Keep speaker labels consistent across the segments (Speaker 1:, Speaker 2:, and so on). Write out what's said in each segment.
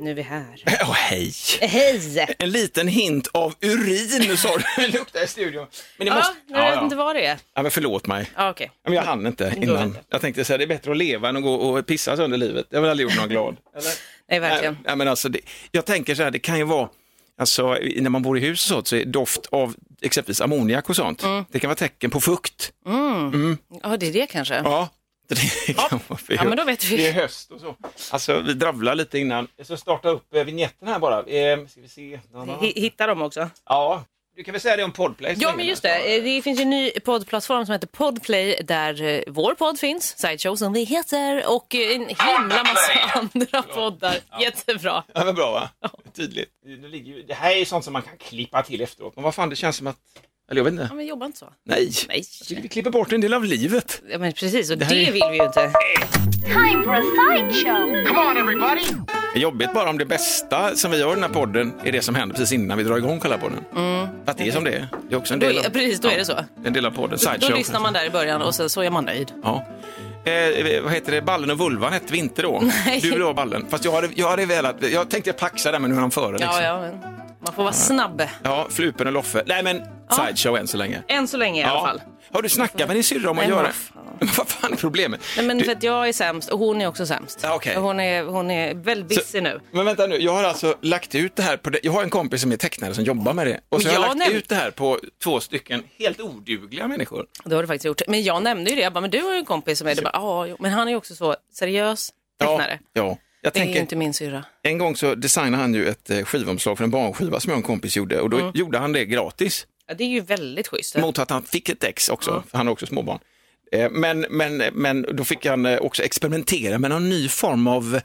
Speaker 1: nu är vi här.
Speaker 2: Åh, hej!
Speaker 1: Hej!
Speaker 2: En liten hint av urin sa du luktar i studion. Men det
Speaker 1: Ja,
Speaker 2: måste...
Speaker 1: jag vet inte vad det är.
Speaker 2: ja, men förlåt mig.
Speaker 1: Ja, okej.
Speaker 2: Ja, Men jag hann inte innan.
Speaker 1: inte.
Speaker 2: Jag tänkte säga det är bättre att leva än att gå och pissa sönder livet. Jag har väl aldrig gjort någon glad.
Speaker 1: Nej, verkligen.
Speaker 2: Nej, nej, men alltså, det, jag tänker så här, det kan ju vara, alltså, i- när man bor i hus och sånt så är doft av exempelvis ammoniak och sånt,
Speaker 1: Mm.
Speaker 2: det kan vara tecken på fukt.
Speaker 1: Ja, det är det kanske.
Speaker 2: Ja, det kan vara för
Speaker 1: Ja, men då vet vi.
Speaker 2: Det är höst och så. Alltså, vi dravlar lite innan. Så starta upp eh, vignetten här bara. Eh, ska vi se.
Speaker 1: Hi- Hitta dem också.
Speaker 2: Ja, du kan väl säga det om Podplay? så
Speaker 1: Ja,
Speaker 2: länge
Speaker 1: men just
Speaker 2: där, så-
Speaker 1: det. Eh, Det finns ju en ny poddplattform som heter Podplay där eh, vår podd finns, Sideshow som vi heter och eh, en himla massa andra poddar. Jättebra.
Speaker 2: Ja, men bra va? Tydligt. Det, ligger ju, det här är ju sånt som man kan klippa till efteråt. Men vad fan, det känns som att... Eller jag vet inte.
Speaker 1: Ja, men jobba inte så.
Speaker 2: Nej.
Speaker 1: Nej.
Speaker 2: Jag tycker Vi klipper bort en del av livet.
Speaker 1: Ja, men precis, och det,
Speaker 2: här är-
Speaker 1: vill vi ju inte.
Speaker 3: Time for a sideshow.
Speaker 2: Det är jobbigt bara om det bästa som vi gör i den här podden är det som händer precis innan vi drar igång kolla på den. Att det är som det är. Det är också en
Speaker 1: Mm. Då,
Speaker 2: del av,
Speaker 1: ja, precis, då är det så.
Speaker 2: en del av podden.
Speaker 1: Då
Speaker 2: Sideshow.
Speaker 1: lyssnar man där i början och sen så är man nöjd.
Speaker 2: Ja. Eh, vad heter det? Ballen och vulvan hette vi inte då.
Speaker 1: Nej.
Speaker 2: Du ville ha ballen. Fast jag hade, jag hade velat... Jag tänkte paxa där men nu är han före. Liksom.
Speaker 1: Ja, ja, men man får vara snabb.
Speaker 2: ja, flupen och Loffe. Nej men, sideshow än så länge.
Speaker 1: Än så länge i alla fall.
Speaker 2: Har du snackat med din syrra om
Speaker 1: Nej,
Speaker 2: att
Speaker 1: men
Speaker 2: göra...
Speaker 1: vad fan.
Speaker 2: Men vad fan är problemet?
Speaker 1: Nej, men
Speaker 2: Du-
Speaker 1: för att jag är sämst och hon är också sämst.
Speaker 2: Ja, okej.
Speaker 1: hon, är, hon är väldigt busy nu.
Speaker 2: Men vänta nu, jag har alltså lagt ut det här på... det- Jag har en kompis som är tecknare som jobbar med det. Och så
Speaker 1: Och
Speaker 2: har jag
Speaker 1: jag
Speaker 2: lagt
Speaker 1: nämnde-
Speaker 2: ut det här på två stycken helt odugliga människor.
Speaker 1: Det har du faktiskt gjort. Men jag nämnde ju det. Jag bara, men du har ju en kompis som är det. Bara, "Ja, jo." men han är ju också så seriös tecknare.
Speaker 2: Ja, ja. Jag
Speaker 1: det är ju
Speaker 2: tänker,
Speaker 1: inte min syrra.
Speaker 2: en gång så designade han ju ett eh, skivomslag för en barnskiva som jag och en kompis gjorde och då gjorde han det gratis
Speaker 1: Ja, det är ju väldigt schysst.
Speaker 2: mot att han fick ett ex också, för han har också småbarn. Eh, Men, men, men då fick han eh, också experimentera med någon ny form av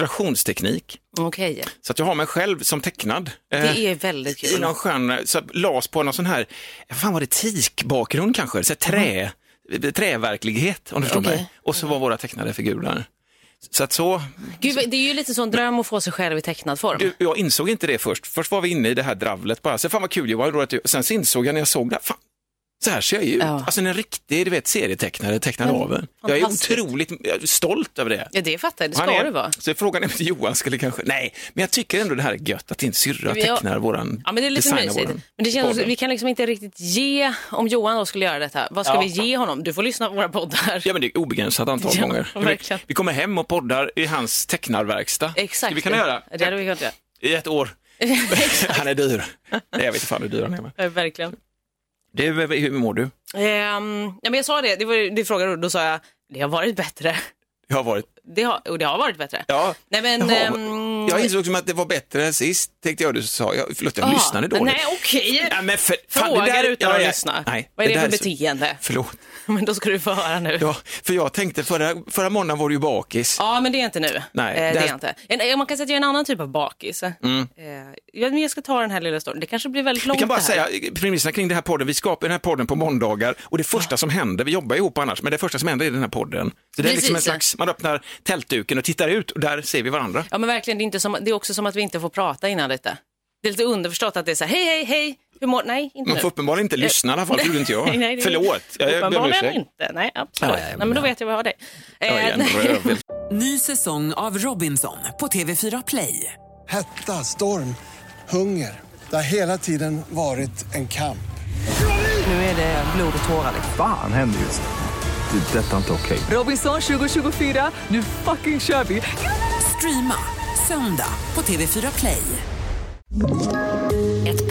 Speaker 2: illustrationsteknik.
Speaker 1: Okej,
Speaker 2: Så att jag har mig själv som tecknad. Eh,
Speaker 1: det är väldigt
Speaker 2: i någon
Speaker 1: kul.
Speaker 2: skön, så las på någon sån här, fan var det teakbakgrund kanske, så här trä, träverklighet om du förstår
Speaker 1: Mm. Okej.
Speaker 2: mig. Och så var våra tecknade figurer. Så att så,
Speaker 1: Gud, det är ju lite sån dröm att få sig själv i tecknad form.
Speaker 2: du, jag insåg inte det först. Först var vi inne i det här dravlet bara, så fan vad kul Johan, roligt. sen så insåg jag när jag såg det, fan, så här ser jag ju ut.
Speaker 1: Ja.
Speaker 2: Alltså en riktig, du vet, serietecknare tecknar av en. Jag är
Speaker 1: fantastiskt.
Speaker 2: otroligt eh, stolt över det.
Speaker 1: Ja, det fattar jag. Det
Speaker 2: Han
Speaker 1: ska
Speaker 2: är-
Speaker 1: du vara.
Speaker 2: Så frågan är om inte Johan skulle kanske, nej, men jag tycker ändå det här är gött att din syrra
Speaker 1: Men jag-
Speaker 2: tecknar våran,
Speaker 1: Ja, men det är lite
Speaker 2: designar
Speaker 1: mysigt.
Speaker 2: våran
Speaker 1: Men det känns
Speaker 2: podd.
Speaker 1: också, vi kan liksom inte riktigt ge, om Johan då skulle göra detta, vad ska vi ge honom? Du får lyssna på våra poddar.
Speaker 2: Ja men det är obegränsat antal
Speaker 1: Ja,
Speaker 2: gånger.
Speaker 1: verkligen.
Speaker 2: Vi kommer hem och poddar i hans tecknarverkstad.
Speaker 1: Exakt.
Speaker 2: Ska vi kunna göra
Speaker 1: Det hade vi kunnat göra.
Speaker 2: i ett år. han är dyr. Nej, jag vet inte fan hur dyr han är. men.
Speaker 1: Ja, Verkligen.
Speaker 2: Du, eh, hur mår du?
Speaker 1: Ehm, ja, men jag sa det, det, var, ju- det frågade du, då sa jag, det har varit bättre.
Speaker 2: Jag har varit...
Speaker 1: Det har, och det har varit bättre.
Speaker 2: Ja.
Speaker 1: Nej men...
Speaker 2: Jaha,
Speaker 1: ehm,
Speaker 2: Jag insåg som att det var bättre än sist, tänkte jag du sa. Jag, förlåt, jag
Speaker 1: ah,
Speaker 2: lyssnade dåligt.
Speaker 1: Nej okej.
Speaker 2: Ja, men för, fan, det
Speaker 1: Frågar
Speaker 2: där-
Speaker 1: utan
Speaker 2: ja,
Speaker 1: att
Speaker 2: ja,
Speaker 1: lyssna.
Speaker 2: Nej,
Speaker 1: Vad är det,
Speaker 2: där
Speaker 1: för beteende?
Speaker 2: Förlåt.
Speaker 1: Men då ska du få höra nu. Ja.
Speaker 2: Ja, för jag tänkte, förra, förra måndagen var du ju bakis.
Speaker 1: men det är inte nu.
Speaker 2: Nej,
Speaker 1: eh, det
Speaker 2: det
Speaker 1: är
Speaker 2: här- Mm.
Speaker 1: jag inte. En, eh, man kan säga att jag är en annan typ av bakis. Eh, jag, men jag ska ta den här lilla storyn. Det kanske blir väldigt långt
Speaker 2: Vi kan bara
Speaker 1: det här.
Speaker 2: säga, premisserna kring den här podden, vi skapar den här podden på måndagar och det första som händer, vi jobbar ihop annars, men det första som händer är den här podden. Så det är liksom en
Speaker 1: Precis.
Speaker 2: slags, man öppnar tältduken och tittar ut och där ser vi varandra.
Speaker 1: Ja men verkligen, det är, inte som, det är också som att vi inte får prata innan detta. Det är lite underförstått att det är så här, hej hej hej, hur mår Nej, inte
Speaker 2: Man
Speaker 1: nu.
Speaker 2: får uppenbarligen inte lyssna i alla fall, det gjorde inte
Speaker 1: Eh,
Speaker 2: jag.
Speaker 1: Nej, nej, det-
Speaker 2: Förlåt, jag jag ber om
Speaker 1: Uppenbarligen
Speaker 2: ursäkt.
Speaker 1: inte. Nej, absolut.
Speaker 2: Ja, ja, ja,
Speaker 1: nej, men då
Speaker 2: men-
Speaker 1: vet jag vad jag har dig. Eh,
Speaker 2: Jag är en röv.
Speaker 4: Ny säsong av Robinson på TV4 Play.
Speaker 5: Hetta, storm, hunger. Det har hela tiden varit en kamp.
Speaker 4: Nu är det blod och tårar. liksom.
Speaker 6: Fan händer just nu. Det. är Detta är inte okej.
Speaker 4: Robinson 2024, nu fucking kör vi! Streama söndag på TV4 Play.
Speaker 7: Ett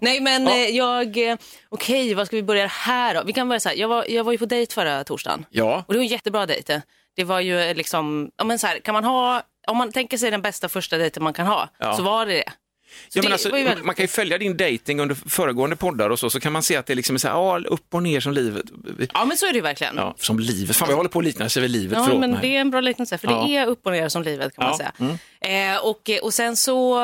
Speaker 1: Nej men eh, jag, eh, okej vad ska vi börja här då? Vi kan börja så här, jag var, jag var ju på dejt förra torsdagen.
Speaker 2: Ja.
Speaker 1: Och det var en jättebra dejt. eh. Det var ju eh, liksom, ja men så här, kan man ha, om man tänker sig den bästa första dejten man kan ha,
Speaker 2: Ja.
Speaker 1: så var det det. Så
Speaker 2: Ja, men
Speaker 1: det
Speaker 2: alltså,
Speaker 1: var ju väldigt-
Speaker 2: man kan ju följa din dating under föregående poddar och så, så kan man se att det är liksom så här, ja, upp och ner som livet.
Speaker 1: Ja men så är det ju verkligen. Ja.
Speaker 2: Ja, som livet. Fan, vi håller på att likna sig vid livet. Förlåt
Speaker 1: men
Speaker 2: mig.
Speaker 1: det är en bra liknelse, för
Speaker 2: Ja.
Speaker 1: det är upp och ner som livet kan
Speaker 2: Ja, Mm.
Speaker 1: man säga. Eh, och, och sen så,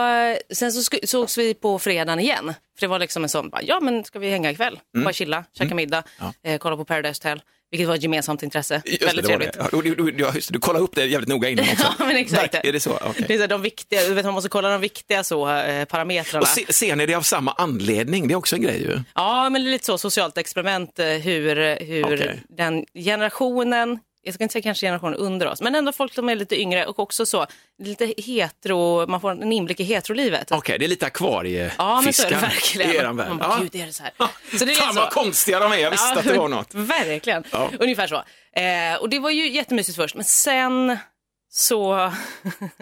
Speaker 1: sen så sku- sågs vi på fredagen igen. För det var liksom en sån, bara, ja men ska vi hänga ikväll?
Speaker 2: Mm.
Speaker 1: Bara chilla, käka middag, eh, kolla på Paradise Hotel. Vilket var ett gemensamt intresse.
Speaker 2: Just det,
Speaker 1: Väldigt
Speaker 2: det var
Speaker 1: trevligt.
Speaker 2: det. Ja, du, du, du, just det, du kollar upp det jävligt noga innan också.
Speaker 1: Ja, men exakt.
Speaker 2: Verk- Är det så? Okej.
Speaker 1: Det är så här, de viktiga, du vet, man måste kolla de viktiga så, eh, parametrarna.
Speaker 2: Och se, ser ni det av samma anledning? Det är också en grej ju.
Speaker 1: Ja, men lite så socialt experiment eh, hur, hur
Speaker 2: Okej.
Speaker 1: den generationen, jag ska inte säga kanske generationen under oss, men ändå folk som är lite yngre och också så lite hetero, man får en inblick i heterolivet.
Speaker 2: Okej, det är lite akvariefiskar
Speaker 1: Ja, men så är det verkligen.
Speaker 2: i eran värld.
Speaker 1: Man bara,
Speaker 2: Ja.
Speaker 1: gud, är det så här? Så det är
Speaker 2: Fan
Speaker 1: så-
Speaker 2: vad konstiga de är, jag visste att det var något.
Speaker 1: Verkligen,
Speaker 2: Ja.
Speaker 1: ungefär så. Eh, och det var ju jättemysigt först, men sen så...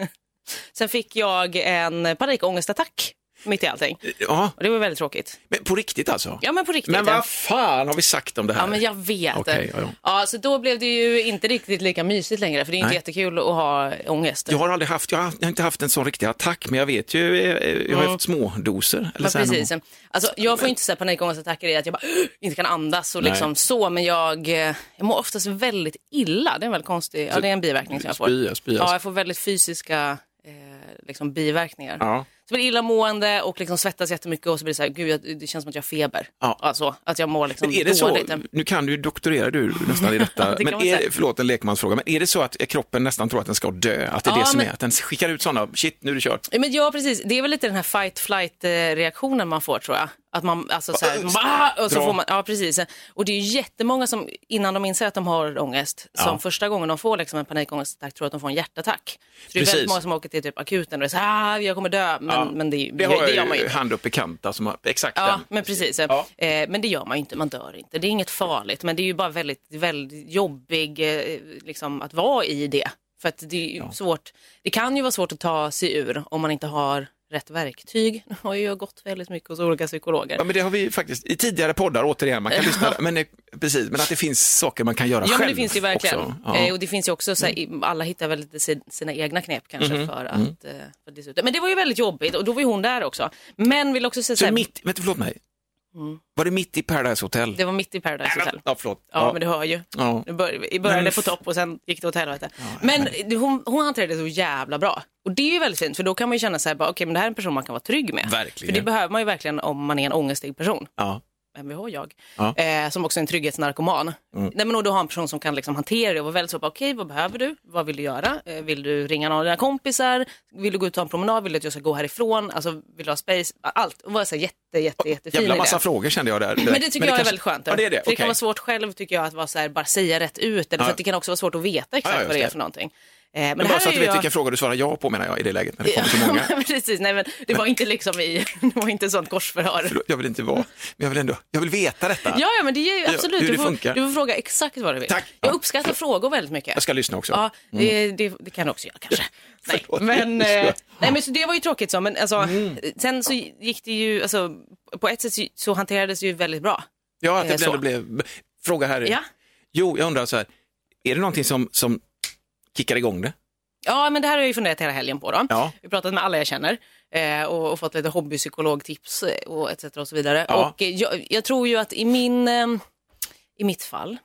Speaker 1: sen fick jag en panikångestattack mitt i allting.
Speaker 2: Ja,
Speaker 1: Och det var väldigt tråkigt.
Speaker 2: men på riktigt alltså?
Speaker 1: Ja, men på riktigt.
Speaker 2: men
Speaker 1: ja.
Speaker 2: vad fan har vi sagt om det här?
Speaker 1: Ja, men jag vet.
Speaker 2: Okej, ja, ja.
Speaker 1: så då blev det ju inte riktigt lika mysigt längre, för det är ju inte
Speaker 2: Nej.
Speaker 1: jättekul att ha ångest.
Speaker 2: Jag har aldrig haft, jag har, haft- jag har inte haft en sån riktig attack, men jag vet ju, eh, eh, jag har haft små doser. Eller
Speaker 1: men
Speaker 2: så här någon
Speaker 1: Mm. precis. Alltså, jag får inte så här panikångestattacker i att jag bara inte kan andas och
Speaker 2: Nej.
Speaker 1: liksom så, men jag, eh, jag mår oftast väldigt illa. Det är en väldigt konstig, ja det är en biverkning som jag får.
Speaker 2: Spya, spya.
Speaker 1: Ja, jag får väldigt fysiska eh, liksom, biverkningar.
Speaker 2: gång. Ja.
Speaker 1: Så blir det illamående och liksom svettas jättemycket och så blir det så här, gud jag, det känns som att jag har feber.
Speaker 2: Ja.
Speaker 1: Alltså, att jag mår liksom
Speaker 2: Men är det så,
Speaker 1: dåligt.
Speaker 2: nu kan du ju doktorera du nästan i detta,
Speaker 1: det kan
Speaker 2: men
Speaker 1: man säga.
Speaker 2: är, förlåt en lekmansfråga, men är det så att kroppen nästan tror att den ska dö? Att det är
Speaker 1: Ja,
Speaker 2: det som
Speaker 1: men-
Speaker 2: är, att den skickar ut sådana, shit nu är det kört.
Speaker 1: Ja, Men ja, precis. Det är väl lite den här fight-flight-reaktionen man får tror jag. Att man, alltså så här, man bara, "Ah!" och så
Speaker 2: Dra.
Speaker 1: får man, ja precis. Och det är ju jättemånga som innan de inser att de har ångest, som första gången de får liksom en panikångestattack tror att de får en hjärtattack. Så det är
Speaker 2: Precis.
Speaker 1: väldigt många som åker till typ akuten och säger ah, jag kommer dö, men,
Speaker 2: Ja.
Speaker 1: men det,
Speaker 2: Det
Speaker 1: det,
Speaker 2: har
Speaker 1: det gör
Speaker 2: jag
Speaker 1: man ju
Speaker 2: ju
Speaker 1: inte.
Speaker 2: hand upp bekanta som har, exakt
Speaker 1: Ja,
Speaker 2: den.
Speaker 1: men precis.
Speaker 2: Ja.
Speaker 1: Eh, men det gör man ju inte, man dör inte. Det är inget farligt, men det är ju bara väldigt, väldigt jobbig eh, liksom, att vara i det. För att det är ju svårt, det kan ju vara svårt att ta sig ur om man inte har rätt verktyg. Nu har ju jag gått väldigt mycket hos olika psykologer.
Speaker 2: Ja, men det har vi faktiskt i tidigare poddar, återigen, man kan lyssna, men, eh, precis, men att det finns saker man kan göra
Speaker 1: Ja,
Speaker 2: själv
Speaker 1: men det finns det ju verkligen.
Speaker 2: också. Mm.
Speaker 1: Eh, och det finns ju också, så här, i- alla hittar väl lite sin- sina egna knep kanske
Speaker 2: Mm-hmm.
Speaker 1: för att... eh, För att dessutom. men det var ju väldigt jobbigt och då var ju hon där också. Men vill också säga så
Speaker 2: Så
Speaker 1: här,
Speaker 2: mitt, vänta, förlåt mig, var det mitt i Paradise Hotel?
Speaker 1: Mm. det var mitt i Paradise Hotel.
Speaker 2: Ja, förlåt.
Speaker 1: Ja, men du hör ju.
Speaker 2: Ja.
Speaker 1: Det bör- Vi började
Speaker 2: Men-
Speaker 1: på topp och sen gick det åt helvete. men det- hon, hon hanterade det så jävla bra. Och det är ju väldigt fint, för då kan man ju känna så här, bara, okej, men det här är en person man kan vara trygg med.
Speaker 2: Verkligen.
Speaker 1: För det behöver man ju verkligen om man är en ångestig person.
Speaker 2: Ja.
Speaker 1: Mvh jag,
Speaker 2: Ja. Mm.
Speaker 1: eh, som också är en trygghetsnarkoman. Nej, men och då har en person som kan liksom hantera det och vara väldigt så, bara, okej, vad behöver du? Vad vill du göra? Eh, vill du ringa någon av dina kompisar? Vill du gå ut och ta en promenad? Vill du att jag ska gå härifrån? Alltså, vill du ha space? Allt. Och vara så här jätte, jätte, jättefin i
Speaker 2: Jävla
Speaker 1: det.
Speaker 2: massa frågor kände jag där.
Speaker 1: Men det tycker jag är
Speaker 2: kanske-
Speaker 1: väldigt skönt.
Speaker 2: Ja, det är det.
Speaker 1: För det
Speaker 2: Okej.
Speaker 1: kan vara svårt själv tycker jag att vara så här, bara säga rätt ut. Eller,
Speaker 2: Ja.
Speaker 1: för att det kan också vara svårt att veta exakt
Speaker 2: Ja, just
Speaker 1: vad det är
Speaker 2: det.
Speaker 1: för någonting. Eh, men
Speaker 2: Men
Speaker 1: här
Speaker 2: bara
Speaker 1: är
Speaker 2: så att du
Speaker 1: ju
Speaker 2: vet
Speaker 1: jag-
Speaker 2: vilken fråga du svarar ja på menar jag i det läget, när det kommer så många.
Speaker 1: Ja, Precis, nej men det var inte liksom i, det var inte sånt korsförhör.
Speaker 2: Förlåt, Jag vill inte vara, men jag vill ändå, jag vill veta detta.
Speaker 1: Ja, ja men det är ju
Speaker 2: Ja,
Speaker 1: absolut,
Speaker 2: hur
Speaker 1: du,
Speaker 2: det
Speaker 1: får,
Speaker 2: funkar.
Speaker 1: du får fråga exakt vad du vill.
Speaker 2: Tack.
Speaker 1: Jag
Speaker 2: Ja.
Speaker 1: uppskattar frågor väldigt mycket.
Speaker 2: Jag ska lyssna också.
Speaker 1: Ja, det, det, det kan du också göra kanske. Nej,
Speaker 2: Förlåt. Mm.
Speaker 1: men, eh, nej, men så det var ju tråkigt så, men alltså, sen så gick det ju, alltså, på ett sätt så, så hanterades det ju väldigt bra.
Speaker 2: Ja, att
Speaker 1: Eh,
Speaker 2: det
Speaker 1: så.
Speaker 2: blev, blev... Fråga här.
Speaker 1: Ja.
Speaker 2: Jo, jag undrar så här, är det någonting som, som kickar igång det?
Speaker 1: Ja, men det här har jag ju funderat hela helgen på. Då.
Speaker 2: Ja.
Speaker 1: Vi har pratat med alla jag känner eh, och, och fått lite hobbypsykologtips eh, och etc. Och så vidare.
Speaker 2: Ja.
Speaker 1: Och eh, jag, jag tror ju att i, min, eh, i mitt fall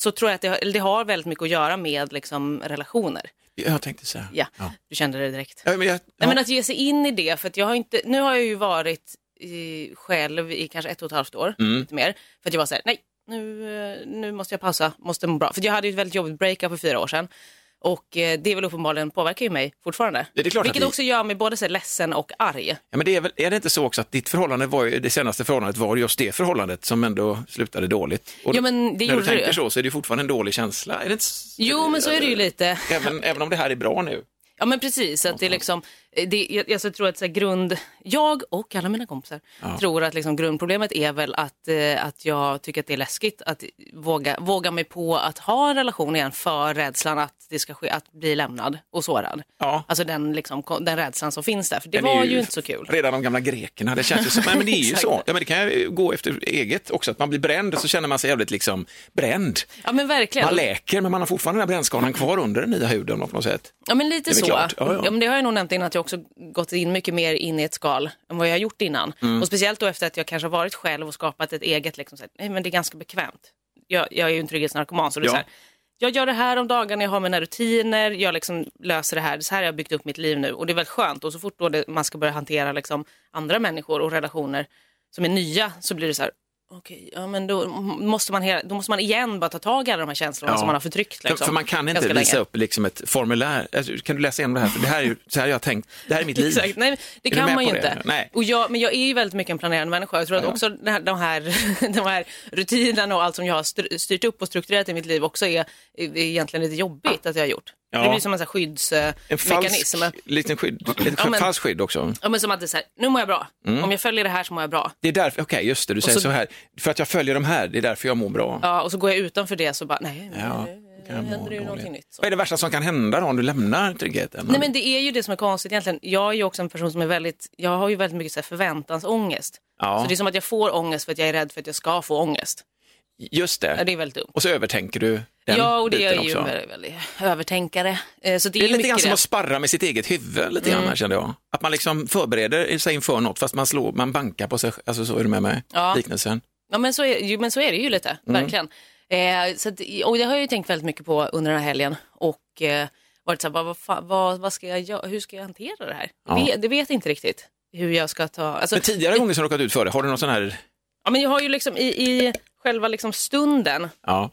Speaker 1: så tror jag att det, har- eller det har väldigt mycket att göra med liksom, relationer.
Speaker 2: Jag tänkte så här.
Speaker 1: Ja,
Speaker 2: Ja.
Speaker 1: du kände det direkt.
Speaker 2: Ja, men jag,
Speaker 1: Nej, men
Speaker 2: ja.
Speaker 1: att ge sig in i det, för att jag har inte, nu har jag ju varit i, själv i kanske ett och ett halvt år,
Speaker 2: Mm.
Speaker 1: lite mer, för att jag var så här, nej, nu, eh, nu måste jag pausa, måste må bra. För jag hade ju ett väldigt jobbigt breakup för fyra år sedan. Och eh, det är väl uppenbarligen påverkar ju mig fortfarande.
Speaker 2: Ja, det är klart att
Speaker 1: Vilket
Speaker 2: det-
Speaker 1: också gör mig både så här, ledsen och arg.
Speaker 2: Ja, men det är, väl, är det inte så också att ditt förhållande var ju, det senaste förhållandet var just det förhållandet som ändå slutade dåligt? Och
Speaker 1: Ja, men det
Speaker 2: när du
Speaker 1: gjorde
Speaker 2: tänker
Speaker 1: det.
Speaker 2: så så är det ju fortfarande en dålig känsla. Är det inte, s-
Speaker 1: Jo, men så är det ju lite.
Speaker 2: Även, även om det här är bra nu.
Speaker 1: Ja men precis, att det är liksom, eh, det, jag, jag så tror att så här, grund, jag och alla mina kompisar tror att liksom, grundproblemet är väl att, eh, att jag tycker att det är läskigt att våga, våga mig på att ha en relation igen för rädslan att, det ska ske, att bli lämnad och sårad.
Speaker 2: Ja.
Speaker 1: Alltså den, liksom, ko- den rädslan som finns där, för det
Speaker 2: Den är
Speaker 1: var ju... inte så kul.
Speaker 2: Redan de gamla grekerna, det känns ju som, nej, men det är ju så. Ja, men det kan ju gå efter eget också, att man blir bränd och så känner man sig jävligt liksom bränd.
Speaker 1: Ja men verkligen.
Speaker 2: Man läker men man har fortfarande den här brännskadan kvar under den nya huden på något sätt.
Speaker 1: Ja men lite
Speaker 2: Det är
Speaker 1: så.
Speaker 2: väl klart. Ja, ja.
Speaker 1: men det har jag nog nämnt innan att jag också gått in mycket mer in i ett skal än vad jag har gjort innan.
Speaker 2: Mm.
Speaker 1: Och speciellt då efter att jag kanske har varit själv och skapat ett eget, liksom, så här, nej men det är ganska bekvämt. Jag, jag är ju en trygghetsnarkoman så det är
Speaker 2: Ja.
Speaker 1: så här, jag gör det här om dagarna, jag har mina rutiner, jag liksom löser det här. Så här har jag byggt upp mitt liv nu och det är väldigt skönt. Och så fort då det, man ska börja hantera liksom andra människor och relationer som är nya så blir det så här, okej, ja, men då, måste man hela, då måste man igen bara ta tag i alla de här känslorna
Speaker 2: Ja.
Speaker 1: som man har förtryckt. Liksom,
Speaker 2: För, för man kan inte
Speaker 1: ganska
Speaker 2: visa
Speaker 1: länge.
Speaker 2: upp liksom ett formulär. Alltså, kan du läsa igenom det här? För det här är ju, så här har jag tänkt. Det här är mitt liv.
Speaker 1: Exakt. Nej, det
Speaker 2: du
Speaker 1: kan
Speaker 2: med
Speaker 1: man ju
Speaker 2: på det?
Speaker 1: inte.
Speaker 2: Nej.
Speaker 1: Och jag, men jag är ju väldigt mycket en planerande människa. Jag tror att också det här, de, här, de här rutinerna och allt som jag har str- styrt upp och strukturerat i mitt liv också är, är egentligen lite jobbigt att jag har gjort.
Speaker 2: Ja.
Speaker 1: Det blir som en skyddsmekanism.
Speaker 2: En falsk, liten skydd, ett
Speaker 1: Ja, men-
Speaker 2: falskt skydd också.
Speaker 1: Ja, men som att det är så här, nu mår jag bra.
Speaker 2: Mm.
Speaker 1: Om jag följer det här så mår jag bra.
Speaker 2: Det är därför, okej just det, du säger
Speaker 1: så-
Speaker 2: så, här, för att jag följer de här, det är därför jag mår bra.
Speaker 1: Ja, och så går jag utanför det så bara, nej, men
Speaker 2: Ja,
Speaker 1: nu
Speaker 2: kan jag må
Speaker 1: händer det ju
Speaker 2: dåligt.
Speaker 1: någonting nytt. Så.
Speaker 2: Vad är det värsta som kan hända då om du lämnar tryggheten?
Speaker 1: Nej, men det är ju det som är konstigt egentligen. Jag är ju också en person som är väldigt, jag har ju väldigt mycket så här förväntansångest.
Speaker 2: ja,
Speaker 1: Så det är som att jag får ångest för att jag är rädd för att jag ska få ångest.
Speaker 2: Just
Speaker 1: Ja,
Speaker 2: det.
Speaker 1: det är väldigt dumt.
Speaker 2: Och så övertänker du den
Speaker 1: ja, och det
Speaker 2: biten
Speaker 1: är ju
Speaker 2: också.
Speaker 1: väldigt, väldigt övertänkare. Eh, Så det, är
Speaker 2: Det är lite
Speaker 1: mycket
Speaker 2: grann som
Speaker 1: det. Mm.
Speaker 2: att sparra med sitt eget huvud lite grann här kände jag. Att man liksom förbereder sig inför något fast man slår, man bankar på sig, alltså så är du med mig,
Speaker 1: Ja.
Speaker 2: liknelsen.
Speaker 1: Ja, men så är, ju, men så är det ju lite,
Speaker 2: Mm.
Speaker 1: verkligen. Eh, så att, och det har jag ju tänkt väldigt mycket på under den här helgen och eh, varit så här, bara, vad, fan, vad, vad ska jag göra? Hur ska jag hantera det här?
Speaker 2: Ja.
Speaker 1: Det, vet, det vet jag inte riktigt hur jag ska ta... Alltså,
Speaker 2: Men tidigare gånger som du råkat ut för det, har du någon sån här,
Speaker 1: ja, men jag har ju liksom i, i själva liksom stunden
Speaker 2: ja,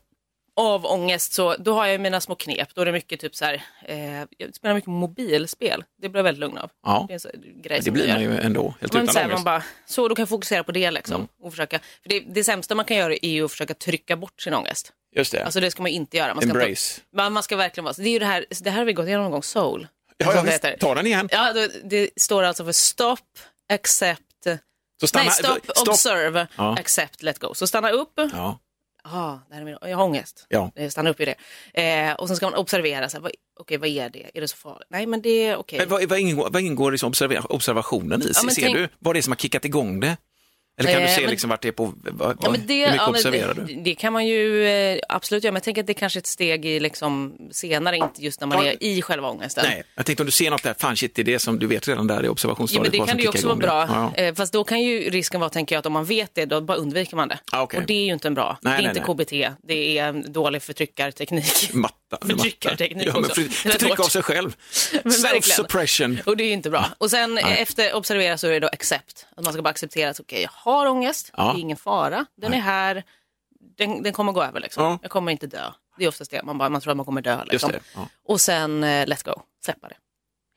Speaker 1: av ångest så då har jag ju mina små knep. Då är det mycket typ så här, eh, jag spelar mycket mobilspel. Det blir jag väldigt lugn av.
Speaker 2: ja.
Speaker 1: Det är en sån här grej
Speaker 2: Det
Speaker 1: som
Speaker 2: blir
Speaker 1: jag
Speaker 2: man ju ändå, helt
Speaker 1: Men
Speaker 2: utan
Speaker 1: så här, man
Speaker 2: ångest.
Speaker 1: bara, så då kan jag fokusera på det liksom.
Speaker 2: Typ Mm.
Speaker 1: Och försöka, för det, det sämsta man kan göra är ju att försöka trycka bort sin ångest.
Speaker 2: Just det,
Speaker 1: Alltså det ska man inte göra. Man ska, inte,
Speaker 2: embrace.
Speaker 1: man, man ska verkligen vara, så det är ju det här, det här har vi gått igenom någon gång, soul.
Speaker 2: Ja,
Speaker 1: som
Speaker 2: ja,
Speaker 1: det
Speaker 2: visst.
Speaker 1: heter.
Speaker 2: Ta den igen.
Speaker 1: Ja, det, det står alltså för stop, accept,
Speaker 2: Så stanna,
Speaker 1: nej stop,
Speaker 2: stopp.
Speaker 1: observe,
Speaker 2: Ja.
Speaker 1: accept, let go. Så stanna upp,
Speaker 2: Ja,
Speaker 1: ah, det här är min, jag har ångest.
Speaker 2: ja.
Speaker 1: Eh, Stanna upp i det. Eh, och sen ska man observera, så här, vad, okej vad är det? Är det så farligt? Nej men det är okej.
Speaker 2: Men vad, vad ingår, vad ingår liksom observa- observationen i?
Speaker 1: Ja, men
Speaker 2: ser
Speaker 1: tänk-
Speaker 2: du vad det är som har kickat igång det? Eller kan
Speaker 1: Eh,
Speaker 2: du se
Speaker 1: men-
Speaker 2: liksom vart det är på, vad,
Speaker 1: Ja, men det,
Speaker 2: hur mycket
Speaker 1: ja, men
Speaker 2: observerar du?
Speaker 1: det, det kan man ju eh, absolut göra, men jag tänker att det kanske är ett steg i liksom senare, inte just när man
Speaker 2: Ja.
Speaker 1: är i själva ångesten.
Speaker 2: Nej, jag tänkte om du ser något där, fan shit, det är det som du vet redan där i
Speaker 1: Ja, men
Speaker 2: observationsstadiet.
Speaker 1: det
Speaker 2: vad
Speaker 1: kan
Speaker 2: som
Speaker 1: det ju
Speaker 2: kickar
Speaker 1: också vara
Speaker 2: igång
Speaker 1: bra,
Speaker 2: det. Ja, ja.
Speaker 1: eh, fast då kan ju risken vara, tänker jag, att om man vet det, då bara undviker man det.
Speaker 2: Ah, okej.
Speaker 1: Och det är ju inte en bra,
Speaker 2: Nej,
Speaker 1: det är
Speaker 2: nej, Mm.
Speaker 1: inte
Speaker 2: nej.
Speaker 1: KBT, det är en dålig förtryckarteknik.
Speaker 2: Matta.
Speaker 1: eh, Förtryckarteknik
Speaker 2: ja, men
Speaker 1: också.
Speaker 2: för,
Speaker 1: Det är
Speaker 2: Förtryck
Speaker 1: hårt.
Speaker 2: av sig själv.
Speaker 1: Men verkligen. liksom.
Speaker 2: Self-suppression.
Speaker 1: Och det är ju inte bra. Och sen eh, efter observera så är det då accept. Att man ska bara acceptera att okej, jag har ångest,
Speaker 2: Ja.
Speaker 1: det är ingen fara, den är här, den, den kommer gå över liksom.
Speaker 2: Ja.
Speaker 1: Jag kommer inte dö. Det är oftast det, man, bara, man tror att man kommer dö.
Speaker 2: Just
Speaker 1: Liksom.
Speaker 2: det. Ja.
Speaker 1: Och sen eh, let's go, släppa det.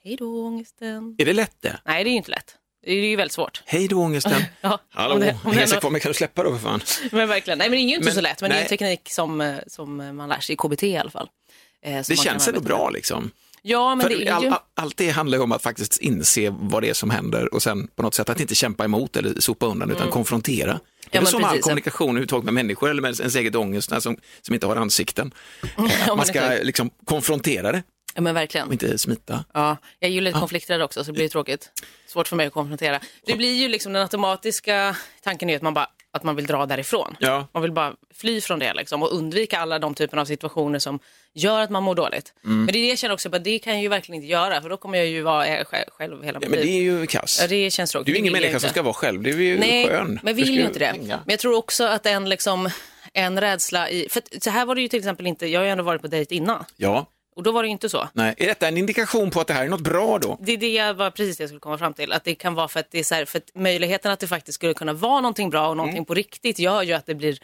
Speaker 1: Hej då ångesten.
Speaker 2: Är det lätt det?
Speaker 1: Nej, det är ju inte lätt. Det är ju väldigt svårt.
Speaker 2: Hej då ångesten.
Speaker 1: Ja,
Speaker 2: Hallå,
Speaker 1: om det- om det
Speaker 2: häng sig
Speaker 1: ändå-
Speaker 2: kvar mig, kan du släppa då för fan?
Speaker 1: Men verkligen, nej men det är ju inte
Speaker 2: Men-
Speaker 1: så lätt, men det är
Speaker 2: nej.
Speaker 1: en teknik som, eh, som man lär sig i KBT i alla fall. Eh, som
Speaker 2: Det
Speaker 1: man kan
Speaker 2: känns ändå
Speaker 1: arbeta med.
Speaker 2: bra liksom.
Speaker 1: Ja, men
Speaker 2: För
Speaker 1: det är
Speaker 2: all,
Speaker 1: ju...
Speaker 2: all, allt det handlar ju om att faktiskt inse vad det är som händer och sen på något sätt att inte kämpa emot eller sopa undan utan konfrontera. Det är väl
Speaker 1: Mm. men
Speaker 2: som all
Speaker 1: precis.
Speaker 2: kommunikation överhuvudtaget med människor eller med ens eget ångest när som, som inte har ansikten. Eh,
Speaker 1: men
Speaker 2: Att man ska
Speaker 1: exakt.
Speaker 2: liksom konfrontera det
Speaker 1: Ja, men verkligen.
Speaker 2: och inte smita.
Speaker 1: Ja, jag är ju lite konflikträdd också så det blir ju tråkigt. Svårt för mig att konfrontera. Det blir ju liksom den automatiska tanken är ju att man bara att man vill dra därifrån.
Speaker 2: Ja.
Speaker 1: Man vill bara fly från det liksom och undvika alla de typen av situationer som gör att man mår dåligt.
Speaker 2: Mm.
Speaker 1: Men det är det jag känner också, bara, det kan jag ju verkligen inte göra för då kommer jag ju vara eh, sj- själv hela
Speaker 2: Ja,
Speaker 1: mitt
Speaker 2: men det
Speaker 1: liv.
Speaker 2: är ju kass.
Speaker 1: Ja, det känns tråkigt.
Speaker 2: Du är
Speaker 1: Det
Speaker 2: ingen
Speaker 1: vill jag
Speaker 2: människa som
Speaker 1: inte.
Speaker 2: ska vara själv, du är ju
Speaker 1: Nej,
Speaker 2: skön.
Speaker 1: men
Speaker 2: Du
Speaker 1: vill
Speaker 2: ska
Speaker 1: ju inte det. Men jag tror också att en liksom, en rädsla i, för att, så här var det ju till exempel inte, jag har ju ändå varit på dejt innan
Speaker 2: Ja,
Speaker 1: och då var det ju inte så.
Speaker 2: nej. Är detta en indikation på att det här är något bra då?
Speaker 1: Det är det jag var precis det jag skulle komma fram till. Att det kan vara för att, det är så här, för att möjligheten att det faktiskt skulle kunna vara någonting bra och
Speaker 2: Mm.
Speaker 1: någonting på riktigt gör ju att det blir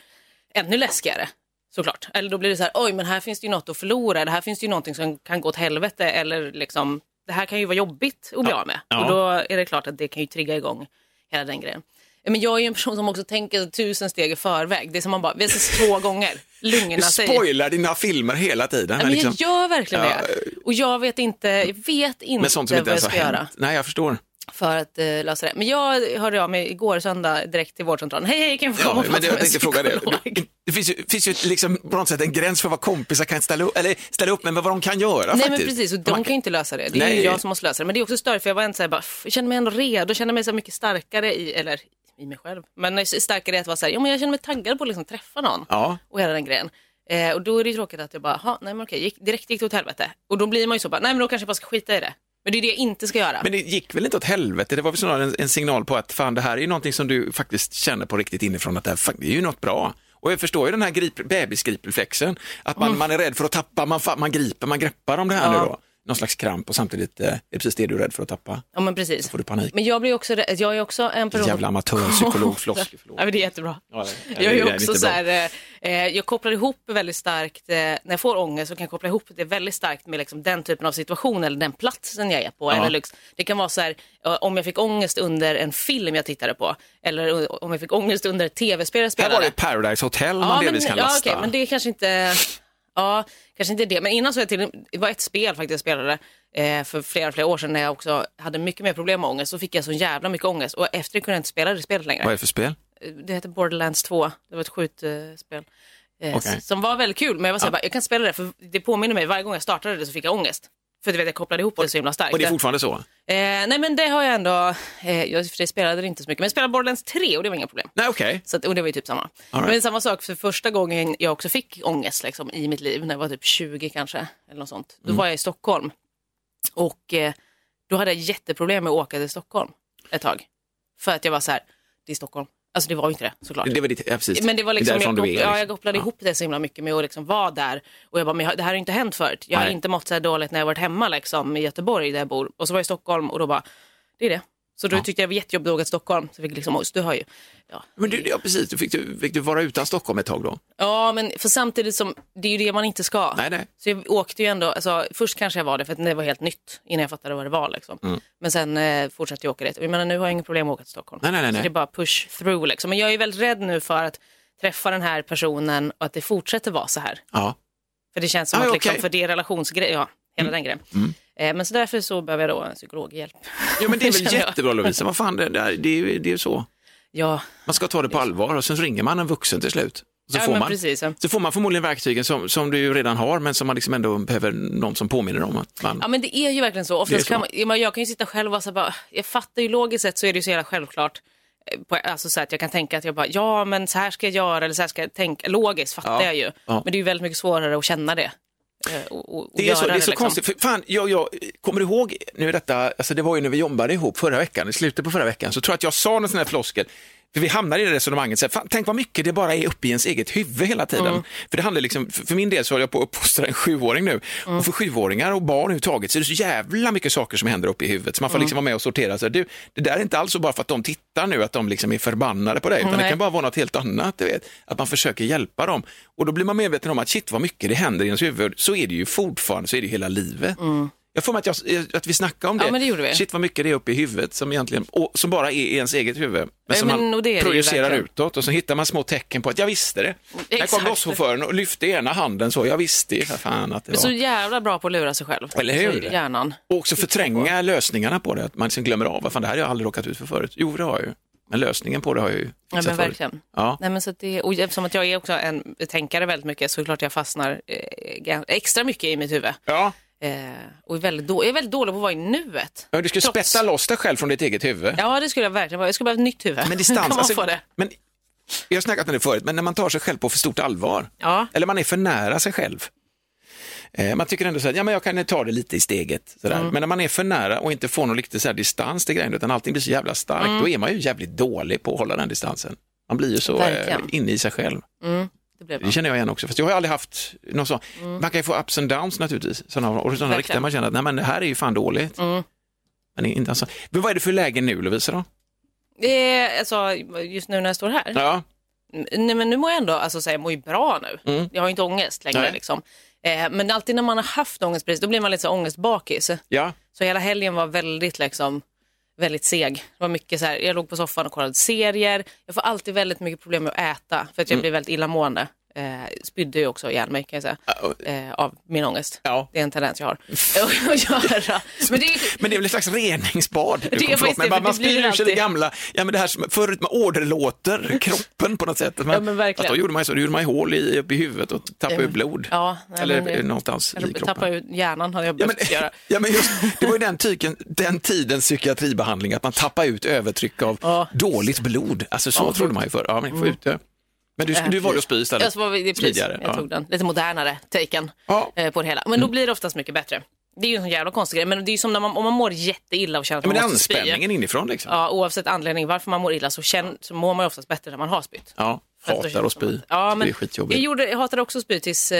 Speaker 1: ännu läskigare. Såklart. Eller då blir det så här, oj men här finns det ju något att förlora. Det här finns det ju någonting som kan gå åt helvete. Eller liksom, det här kan ju vara jobbigt att bli av med.
Speaker 2: Ja.
Speaker 1: Och då är det klart att det kan ju trigga igång hela den grejen. Men jag är ju en person som också tänker tusen steg i förväg. Det är som man bara, vi ses två gånger. Lugna
Speaker 2: Du
Speaker 1: sig.
Speaker 2: spoilar dina filmer hela tiden.
Speaker 1: Ja,
Speaker 2: här,
Speaker 1: alltså- men
Speaker 2: liksom.
Speaker 1: jag gör verkligen
Speaker 2: Ja,
Speaker 1: det. Och jag vet inte, jag vet inte
Speaker 2: Med sånt som inte
Speaker 1: vad jag
Speaker 2: ens
Speaker 1: ska
Speaker 2: har
Speaker 1: göra
Speaker 2: hänt. Nej, jag förstår.
Speaker 1: för att eh, lösa det. Men jag hörde av mig igår söndag direkt till vårdcentralen. Hej, hej, kan jag få komma
Speaker 2: Ja,
Speaker 1: och
Speaker 2: men
Speaker 1: prata
Speaker 2: det, jag
Speaker 1: med en
Speaker 2: tänkte fråga det.
Speaker 1: psykolog?
Speaker 2: Det finns ju, finns ju liksom på något sätt en gräns för vad kompisar kan ställa upp, eller ställa upp med, men vad de kan göra
Speaker 1: Nej men
Speaker 2: faktiskt.
Speaker 1: precis, och de
Speaker 2: Man-
Speaker 1: kan ju inte lösa det. Det är ju
Speaker 2: Nej.
Speaker 1: jag som måste lösa det. Men det är också större för jag var inte så här, bara, "F- jag känner mig ändå redo, jag känner mig så här mycket starkare i, eller i mig själv, men starkare i att vara så här, ja men jag känner mig taggad på att liksom träffa någon
Speaker 2: Ja,
Speaker 1: och hela den grejen. Eh, och då är det ju tråkigt att jag bara, "Ha, nej men okej, gick, direkt gick det åt helvete. Och då blir man ju så bara, nej men då kanske jag bara ska skita i det. Men det är det jag inte ska göra.
Speaker 2: men det gick väl inte åt helvete? Det var väl snarare en, en signal på att fan, det här är ju någonting som du faktiskt känner på riktigt inifrån, att det här fan, det är ju något bra. Och jag förstår ju den här grip, bebisgripreflexen, att
Speaker 1: Mm.
Speaker 2: man, man är rädd för att tappa, man, fa- man griper, man greppar om det här nu då. Någon slags kramp och samtidigt eh, är det precis det du är rädd för att tappa.
Speaker 1: Ja, men precis.
Speaker 2: Får du panik.
Speaker 1: Men jag blir också rädd. Jag är också en person...
Speaker 2: Jävla amatörpsykolog, floskig, förlåt.
Speaker 1: Ja, men det är jättebra.
Speaker 2: Ja, det- det
Speaker 1: jag
Speaker 2: är
Speaker 1: är
Speaker 2: inte
Speaker 1: också
Speaker 2: bra.
Speaker 1: så här, eh, eh, jag kopplar ihop väldigt starkt, eh, när jag får ångest så kan jag koppla ihop det väldigt starkt med liksom, den typen av situation eller den platsen jag är på. Eller, liksom, det kan vara så här, eh, om jag fick ångest under en film jag tittade på eller eh, om jag fick ångest under ett tv-spel jag
Speaker 2: Här
Speaker 1: spelade.
Speaker 2: var det Paradise Hotel man delvis kan
Speaker 1: ja,
Speaker 2: lasta.
Speaker 1: okej, men det är kanske inte... Ja, kanske inte det. Men innan så var jag till, det var ett spel faktiskt jag spelade eh, för flera, flera år sedan när jag också hade mycket mer problem med ångest. Så fick jag så jävla mycket ångest och efter det kunde jag inte spela det spelet längre.
Speaker 2: Vad är det för spel?
Speaker 1: Det heter Borderlands 2. Det var ett skjutspel. Eh,
Speaker 2: Okej.
Speaker 1: s- Som var väldigt kul, men jag var såhär, bara, jag kan inte spela det för det påminner mig, varje gång jag startade det så fick jag ångest. För du vet, jag kopplade ihop det så himla starkt.
Speaker 2: Och det är fortfarande så?
Speaker 1: eh, nej men det har jag ändå, eh, jag i och för sig spelade det inte så mycket, men jag spelade Borderlands 3 och det var inga problem.
Speaker 2: Nej, okej.
Speaker 1: Så att, och det var ju typ samma.
Speaker 2: right.
Speaker 1: Men det är samma sak för första gången jag också fick ångest liksom, i mitt liv, när jag var typ 20 kanske, eller något sånt.
Speaker 2: Mm.
Speaker 1: Då var jag i Stockholm och eh, då hade jag jätteproblem med att åka till Stockholm ett tag. För att jag var så här, det är Stockholm. Alltså det var ju inte det såklart.
Speaker 2: Det var ditt, ja, precis.
Speaker 1: Men det var liksom,
Speaker 2: är därifrån
Speaker 1: jag,
Speaker 2: du är,
Speaker 1: koppl- ja, jag
Speaker 2: liksom.
Speaker 1: kopplade
Speaker 2: Ja.
Speaker 1: ihop det så himla mycket med att liksom vara där. Och jag bara, men jag, det här har ju inte hänt förut. Jag har
Speaker 2: Nej.
Speaker 1: inte mått så här dåligt när jag varit hemma liksom, i Göteborg där jag bor. Och så var jag i Stockholm och då bara, det är det. Så då tyckte jag det var jättejobbigt att åka till Stockholm. Så jag fick liksom, ångest. du har ju, ja,
Speaker 2: Men du, ja, precis. Du fick, du, fick du vara utan Stockholm ett tag då?
Speaker 1: Ja, men för samtidigt som det är ju det man inte ska.
Speaker 2: Nej, nej.
Speaker 1: Så jag åkte ju ändå, alltså, först kanske jag var det för att det var helt nytt innan jag fattade vad det var. Liksom.
Speaker 2: Mm.
Speaker 1: Men sen eh, fortsatte jag åka dit. Och Jag menar, nu har jag inga problem med att åka till Stockholm.
Speaker 2: Nej, nej, nej,
Speaker 1: Så
Speaker 2: nej.
Speaker 1: det är bara push through. Liksom. Men jag är väldigt rädd nu för att träffa den här personen och att det fortsätter vara så här.
Speaker 2: Ja.
Speaker 1: För det känns som
Speaker 2: Ah,
Speaker 1: att
Speaker 2: okej. Mm.
Speaker 1: liksom, för det är relationsgrej, ja, hela den grejen. Eh, men så därför så behöver jag då en psykologhjälp.
Speaker 2: ja, men det är väl
Speaker 1: Känner jag.
Speaker 2: jättebra Lovisa. Vad fan, det, det, är- det, är ju- det är ju så.
Speaker 1: Ja,
Speaker 2: Man ska ta det på allvar och sen så ringer man en vuxen till slut. Och Så,
Speaker 1: Ja,
Speaker 2: får
Speaker 1: men
Speaker 2: man,
Speaker 1: precis, ja.
Speaker 2: så får man förmodligen verktygen som, som du ju redan har, men som man liksom ändå behöver någon som påminner om att man...
Speaker 1: Ja men det är ju verkligen så.
Speaker 2: Det är
Speaker 1: Oftast
Speaker 2: så.
Speaker 1: Kan man, ja, men jag kan ju sitta själv och vara så här, bara, jag fattar ju logiskt sett så är det ju så jävla självklart. eh, På, alltså så här att jag kan tänka att jag bara, ja men så här ska jag göra eller så här ska jag tänka. Logiskt fattar
Speaker 2: Ja,
Speaker 1: jag ju.
Speaker 2: ja.
Speaker 1: Men det är ju väldigt mycket svårare att känna det. eh, Och, och, och
Speaker 2: Det är
Speaker 1: göra
Speaker 2: så, det är så
Speaker 1: liksom.
Speaker 2: konstigt. För fan, jag, jag kommer du ihåg, nu är detta, alltså det var ju när vi jobbade ihop förra veckan, i slutet på förra veckan, så tror jag att jag sa någon sån här floskel, för vi hamnade i det resonemanget, så här, fan, tänk vad mycket det bara är uppe i ens eget huvud hela tiden.
Speaker 1: Mm.
Speaker 2: För det handlar liksom, för för min del så håller jag på att uppfostra en sjuåring nu,
Speaker 1: Mm.
Speaker 2: och för sjuåringar och barn överhuvudtaget så är det så jävla mycket saker som händer uppe i huvudet, så man
Speaker 1: Mm.
Speaker 2: får liksom vara med och sortera, så här, du, det där är inte alls så bara för att de tittar nu, att de liksom är förbannade på dig, utan det
Speaker 1: Nej.
Speaker 2: kan bara vara något helt annat, du vet, att man försöker hjälpa dem. Och då blir man medveten om att shit vad mycket det händer i ens huvud, så är det ju fortfarande, så är det ju hela livet. Jag får mig att, jag, att vi snackade om det.
Speaker 1: Mm. Ja, men det gjorde vi.
Speaker 2: Shit vad mycket det är uppe i huvudet som egentligen, och som bara är i ens eget huvud. Men
Speaker 1: Ja,
Speaker 2: som
Speaker 1: men
Speaker 2: man
Speaker 1: och det är det ju
Speaker 2: projicerar
Speaker 1: verkligen.
Speaker 2: utåt och så hittar man små tecken på att jag visste det. Där kom
Speaker 1: Exakt.
Speaker 2: busschauffören och lyfte ena handen så, jag visste ju för fan att det
Speaker 1: Men så
Speaker 2: var.
Speaker 1: jävla bra på att lura sig själv.
Speaker 2: Eller hur?
Speaker 1: Så Hjärnan.
Speaker 2: Och också förtränga lösningarna på det, att man liksom glömmer av, vad fan det här har jag aldrig råkat ut för förut. Jo, det har jag ju. Men lösningen på det har jag ju
Speaker 1: Ja,
Speaker 2: fixat
Speaker 1: men
Speaker 2: förut.
Speaker 1: verkligen.
Speaker 2: Ja.
Speaker 1: Nej, men så att det, och eftersom att jag är också en tänkare väldigt mycket så är det klart jag fastnar eh, gan- extra mycket i mitt huvud.
Speaker 2: Ja.
Speaker 1: Eh, och är väldigt, då, jag är väldigt dålig på att vara i nuet.
Speaker 2: Ja, du ska
Speaker 1: Trots-
Speaker 2: spetta loss dig själv från ditt eget huvud.
Speaker 1: Ja, det skulle jag verkligen vara. Jag skulle behöva ett nytt huvud.
Speaker 2: Men distans, alltså-
Speaker 1: kan man få det?
Speaker 2: Men, jag har snackat om det förut, men när man tar sig själv på för stort allvar,
Speaker 1: Ja.
Speaker 2: eller man är för nära sig själv. Eh, Man tycker ändå så här, ja men jag kan ta det lite i steget. Sådär.
Speaker 1: Mm.
Speaker 2: Men när man är för nära och inte får någon riktig så här distans till grejen, utan allting blir så jävla starkt,
Speaker 1: Mm.
Speaker 2: då är man ju jävligt dålig på att hålla den distansen. Man blir ju så eh,
Speaker 1: Verkligen.
Speaker 2: inne i sig själv.
Speaker 1: Det blev
Speaker 2: Det
Speaker 1: bra.
Speaker 2: känner jag igen också, fast jag har ju aldrig haft någon sån. Man kan ju få ups and downs naturligtvis, sådana, och sådana
Speaker 1: Mm. Verkligen. Mm.
Speaker 2: riktiga man känner att nej men det här är ju fan dåligt. Men, det är inte alltså. men vad är det för läge nu Lovisa då?
Speaker 1: Det är, alltså, just nu när jag står här.
Speaker 2: Ja,
Speaker 1: Nej, men nu mår jag ändå, alltså, så här, jag mår ju bra nu.
Speaker 2: Mm.
Speaker 1: Jag har ju inte ångest
Speaker 2: Nej.
Speaker 1: längre. Liksom. Eh, men alltid när man har haft ångest, precis, då blir man lite så här ångestbakis.
Speaker 2: ja.
Speaker 1: Så hela helgen var väldigt, liksom, väldigt seg. Det var mycket så här, jag låg på soffan och kollade serier. Jag får alltid väldigt mycket problem med att äta för att jag
Speaker 2: Mm.
Speaker 1: blir väldigt illamående. Eh, spydde ju också ihjäl mig kan jag säga, eh, av min ångest.
Speaker 2: Ah, Ja.
Speaker 1: Det är en tendens jag har att göra. Men det är ju-
Speaker 2: Men det är väl ett slags reningsbad?
Speaker 1: är
Speaker 2: Förlåt,
Speaker 1: faktiskt
Speaker 2: men
Speaker 1: det,
Speaker 2: bara
Speaker 1: för
Speaker 2: man
Speaker 1: det blir
Speaker 2: spyr ur sig det
Speaker 1: alltid.
Speaker 2: gamla, ja, men det här som förut man åderlåter kroppen på något sätt. Man,
Speaker 1: Ja, men verkligen.
Speaker 2: Att då gjorde man ju så, då gjorde man ju hål i, uppe i huvudet och tappade
Speaker 1: Ja,
Speaker 2: ur
Speaker 1: men-
Speaker 2: blod.
Speaker 1: Ja, nej,
Speaker 2: Eller
Speaker 1: men det-
Speaker 2: någonstans i
Speaker 1: Jag
Speaker 2: kroppen.
Speaker 1: tappar ut hjärnan hade jag
Speaker 2: Ja men,
Speaker 1: behövt göra.
Speaker 2: ja, men just, det var ju den, tyken, den tidens psykiatribehandling, att man tappar ut övertryck av
Speaker 1: Ja.
Speaker 2: dåligt blod. Alltså så
Speaker 1: Ja, Mm. Äh,
Speaker 2: trodde man ju förr. Ja, men, få ut det. men du, du var ju och spy istället.
Speaker 1: Jag, var, det är precis,
Speaker 2: Smidigare,
Speaker 1: jag
Speaker 2: ja.
Speaker 1: tog den. Lite modernare taken
Speaker 2: Ja. Mm.
Speaker 1: eh, på det hela. Men då blir det oftast mycket bättre. Det är ju en sån jävla konstig grej. Men det är ju som när man, om man mår jätteilla och känner att
Speaker 2: Ja, men det är
Speaker 1: man måste spy.
Speaker 2: anspänningen inifrån liksom.
Speaker 1: Ja, oavsett anledning varför man mår illa så, känn, så mår man ju oftast bättre när man har spytt.
Speaker 2: Ja.
Speaker 1: Plötsligt
Speaker 2: Hatar att spy.
Speaker 1: Alltså, Ja, men
Speaker 2: Det är skitjobbigt.
Speaker 1: Jag, gjorde, jag hatade också att spy tills... Eh,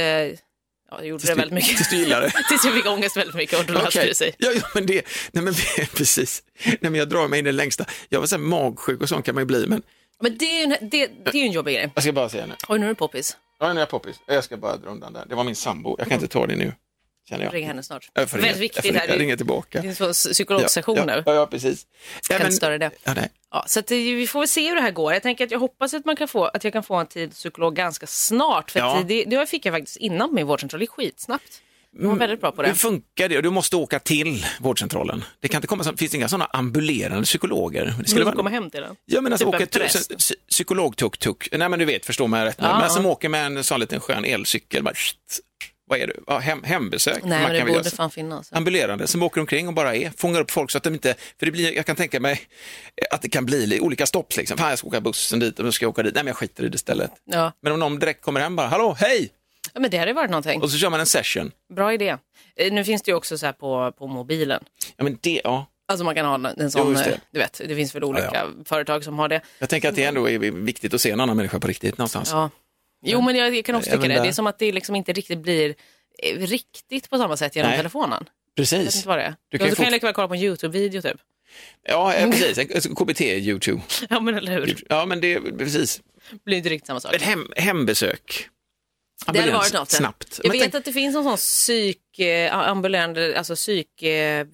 Speaker 1: ja, jag gjorde det väldigt mycket.
Speaker 2: Tills du gillar det.
Speaker 1: tills jag fick ångest väldigt mycket och då lät
Speaker 2: Okej.
Speaker 1: det sig.
Speaker 2: Ja, ja, men det, nej men precis. Nej, men jag drar mig in i det längsta. Jag var så här magsjuk och sånt kan man ju bli, men
Speaker 1: Men det är ju en, det, det är ju en jobbig grej.
Speaker 2: jag ska bara säga nu.
Speaker 1: Oj, nu är det poppis.
Speaker 2: Ja, nu är jag poppis. Jag ska bara dra undan där. Det var min sambo. Jag kan inte ta det nu, känner jag.
Speaker 1: Ring henne snart.
Speaker 2: Jag får ringa-
Speaker 1: Väldigt viktigt.
Speaker 2: Jag, får, jag
Speaker 1: här.
Speaker 2: ringer tillbaka.
Speaker 1: Det är en sån psykologsession
Speaker 2: ja,
Speaker 1: nu.
Speaker 2: Ja, ja, precis. Ja,
Speaker 1: Kan inte störa det.
Speaker 2: ja, nej.
Speaker 1: Ja, så att det, vi får väl se hur det här går. Jag tänker att jag hoppas att, man kan få, att jag kan få en tid psykolog ganska snart. För
Speaker 2: Ja.
Speaker 1: att det, det fick jag faktiskt innan på min vårdcentral. Det är skitsnabbt. De
Speaker 2: Mm,
Speaker 1: var väldigt bra på det.
Speaker 2: Hur funkar det? Du måste åka till vårdcentralen. Det kan inte komma, så- finns det inga sådana ambulerande psykologer? Det
Speaker 1: Skulle
Speaker 2: vara-
Speaker 1: du komma hem till den?
Speaker 2: Ja men alltså
Speaker 1: Typ
Speaker 2: åker
Speaker 1: en präst.
Speaker 2: t- psy- psykolog-tuk-tuk, nej men du vet, förstå mig rätt nu,
Speaker 1: Ja,
Speaker 2: men
Speaker 1: ja.
Speaker 2: som åker med en sån liten skön elcykel, bara, shit, vad är du? Ja, hem, hembesök.
Speaker 1: Nej, men
Speaker 2: kan
Speaker 1: det
Speaker 2: väl
Speaker 1: borde
Speaker 2: göra så.
Speaker 1: fan finnas.
Speaker 2: Ambulerande som åker omkring och bara är, fångar upp folk så att de inte, för det blir, jag kan tänka mig att det kan bli li- olika stopp liksom, fan jag ska åka bussen dit och då ska jag åka dit, nej men jag skiter i det istället.
Speaker 1: Ja.
Speaker 2: Men om någon direkt kommer hem bara, hallå, hej!
Speaker 1: ja, men det hade ju varit någonting.
Speaker 2: Och så kör man en session.
Speaker 1: Bra idé. Eh, Nu finns det ju också så här på, på mobilen.
Speaker 2: Ja men det, ja,
Speaker 1: Alltså man kan ha en sån,
Speaker 2: Jo, just det.
Speaker 1: eh, du vet, det finns väl olika
Speaker 2: Ja,
Speaker 1: företag som har det.
Speaker 2: jag tänker att det ändå är viktigt att se en annan människa på riktigt någonstans.
Speaker 1: Ja. Jo, men jag, jag kan också
Speaker 2: Även
Speaker 1: tycka det.
Speaker 2: där.
Speaker 1: Det är som att det liksom inte riktigt blir eh, riktigt på samma sätt genom
Speaker 2: Nej.
Speaker 1: telefonen. Jag vet
Speaker 2: Precis.
Speaker 1: inte vad det är.
Speaker 2: Du
Speaker 1: Du
Speaker 2: kan
Speaker 1: kan,
Speaker 2: ju
Speaker 1: du kan
Speaker 2: fort-
Speaker 1: ju lika väl kolla på en YouTube-video typ.
Speaker 2: Ja, eh, precis. KBT, YouTube.
Speaker 1: Ja, men eller hur?
Speaker 2: Ja, men det, precis.
Speaker 1: Det blir inte riktigt samma sak.
Speaker 2: Ett hem, hembesök.
Speaker 1: Det hade
Speaker 2: Ambulans,
Speaker 1: varit något.
Speaker 2: Snabbt.
Speaker 1: Jag
Speaker 2: Men
Speaker 1: vet
Speaker 2: tänk-
Speaker 1: att det finns någon sån psyk, eh, ambulerande, alltså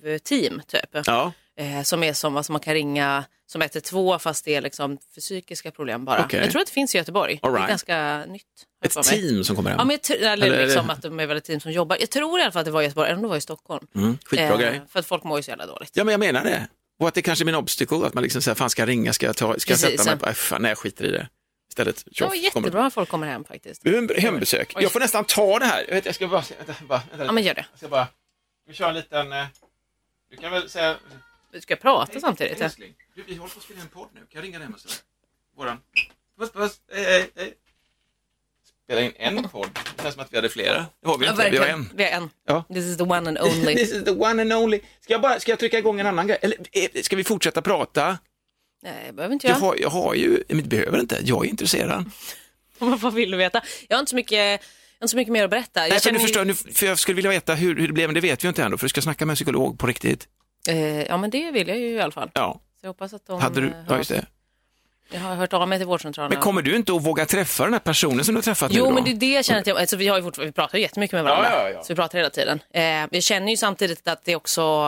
Speaker 1: psykteam typ.
Speaker 2: Ja,
Speaker 1: Eh, som är som, alltså man kan ringa som 112 fast det är liksom för psykiska problem bara.
Speaker 2: Okej.
Speaker 1: Jag tror att det finns i Göteborg.
Speaker 2: All right.
Speaker 1: Det är ganska nytt. har jag för
Speaker 2: ett
Speaker 1: mig.
Speaker 2: team som kommer hem.
Speaker 1: Ja, men jag tror, eller,
Speaker 2: Eller-
Speaker 1: liksom att de är väl ett team som jobbar. Jag tror i alla fall att det var i Göteborg, även om det var i Stockholm.
Speaker 2: mm, skitbra
Speaker 1: Eh,
Speaker 2: grej.
Speaker 1: För att folk mår ju så jävla dåligt.
Speaker 2: Ja, men jag menar det. Och att det kanske blir en obstacle, att man liksom säger, fan ska jag ringa, ska jag, ta, ska jag
Speaker 1: Precis,
Speaker 2: sätta mig
Speaker 1: ja.
Speaker 2: på, "Aj, fan, nej jag skiter i det. Istället,
Speaker 1: Det var
Speaker 2: tjoff, kommer-
Speaker 1: jättebra att folk kommer hem faktiskt.
Speaker 2: Hem- Hembesök.
Speaker 1: Oj.
Speaker 2: Jag får nästan ta det här. Jag, vet, jag ska bara... se- Vänta, bara, vänta,
Speaker 1: Ja, men gör det.
Speaker 2: Jag ska bara... Vi kör en liten... eh, Du kan väl säga...
Speaker 1: Ska jag prata samtidigt? Ja.
Speaker 2: Älskling, du, vi håller på att spela en podd nu. Kan jag ringa dig hem och säga? Våran. Puss, puss. Hej, hej, hej. Spela in en podd. Det känns som att vi hade flera. Det har vi
Speaker 1: Ja,
Speaker 2: inte. Vi har
Speaker 1: verkligen.
Speaker 2: en.
Speaker 1: Vi har en.
Speaker 2: Ja.
Speaker 1: This is the one and only.
Speaker 2: This is the one and only. Ska jag, bara, ska jag trycka igång en annan grej? Eller eh, ska vi fortsätta prata?
Speaker 1: Nej, det behöver inte
Speaker 2: Jag,
Speaker 1: jag.
Speaker 2: har, jag har ju, men det behöver inte, jag är intresserad.
Speaker 1: Vad vill du veta? Jag har inte så mycket, jag har inte så mycket mer att berätta.
Speaker 2: Nej,
Speaker 1: Jag
Speaker 2: för, nu
Speaker 1: känner-
Speaker 2: förstår, jag, nu, för jag skulle vilja veta hur, hur det blev, men det vet vi ju inte ändå, för du ska snacka med en psykolog på riktigt.
Speaker 1: Eh, ja, men det vill jag ju i alla fall.
Speaker 2: Ja,
Speaker 1: Så jag hoppas att de...
Speaker 2: hade
Speaker 1: eh,
Speaker 2: du,
Speaker 1: hör
Speaker 2: ja
Speaker 1: av
Speaker 2: just det.
Speaker 1: Jag har hört av mig till vårdcentralen.
Speaker 2: Men kommer du inte att våga träffa den här personen som du har träffat nu
Speaker 1: Jo,
Speaker 2: då?
Speaker 1: men det är det jag känner att jag, alltså, vi, har ju fortfar- vi pratar ju jättemycket med varandra.
Speaker 2: Ja, ja, ja.
Speaker 1: Så vi pratar hela tiden. Eh, jag känner ju samtidigt att det också,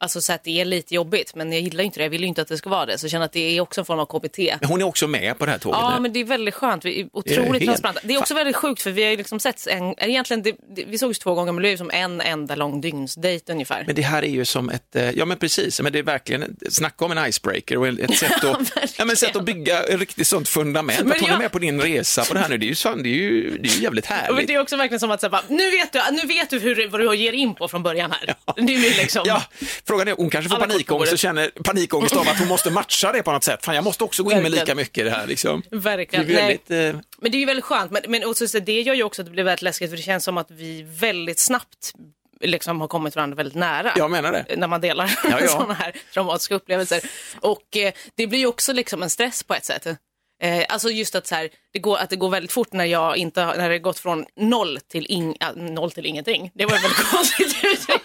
Speaker 1: alltså så att det är lite jobbigt, men jag gillar ju inte det. Jag vill ju inte att det ska vara det. Så jag känner att det är också en form av KBT.
Speaker 2: Hon är också med på det här tåget
Speaker 1: Ja,
Speaker 2: nu.
Speaker 1: men det är väldigt skönt. Vi är
Speaker 2: Det är
Speaker 1: otroligt
Speaker 2: helt-
Speaker 1: transparenta. Det är också väldigt sjukt för vi har ju liksom sett en, egentligen, det, det, vi sågs två gånger men det är ju som en enda lång dygnsdejt ungefär.
Speaker 2: Men det här är ju som ett, eh, ja men precis, men det är verkligen, snacka om en icebreaker och ett sätt att, ja,
Speaker 1: verkligen.
Speaker 2: men sätt att bygga ett riktigt sånt fundament.
Speaker 1: Men
Speaker 2: att hon är
Speaker 1: jag-
Speaker 2: med på din resa på det här nu, det är ju, fan, det är ju, det är ju jävligt
Speaker 1: Men
Speaker 2: härligt.
Speaker 1: det är också verkligen som att så här, bara, nu vet du, nu vet du hur, vad du ger in på från början här. Nu är det liksom,
Speaker 2: Ja, frågan är, hon kanske får
Speaker 1: Alla kort på
Speaker 2: panikångest och
Speaker 1: bordet.
Speaker 2: känner panikångest av att hon måste matcha det på något sätt. Fan, jag måste också gå in med
Speaker 1: Verkligen.
Speaker 2: lika mycket i det här liksom.
Speaker 1: Verkligen.
Speaker 2: Det är väldigt, eh,
Speaker 1: Men det är ju väldigt skönt. Men, men och så, så det gör ju också att det blir väldigt läskigt för det känns som att vi väldigt snabbt liksom har kommit varandra väldigt nära.
Speaker 2: jag menar det.
Speaker 1: när man delar
Speaker 2: Ja, ja.
Speaker 1: sådana här traumatiska upplevelser. Och eh, det blir ju också liksom en stress på ett sätt. Eh, alltså just att, så här, det går, att det går väldigt fort när, jag inte, har- när det har gått från noll till, ing, äh, noll till ingenting. Det var ett väldigt konstigt uttryck.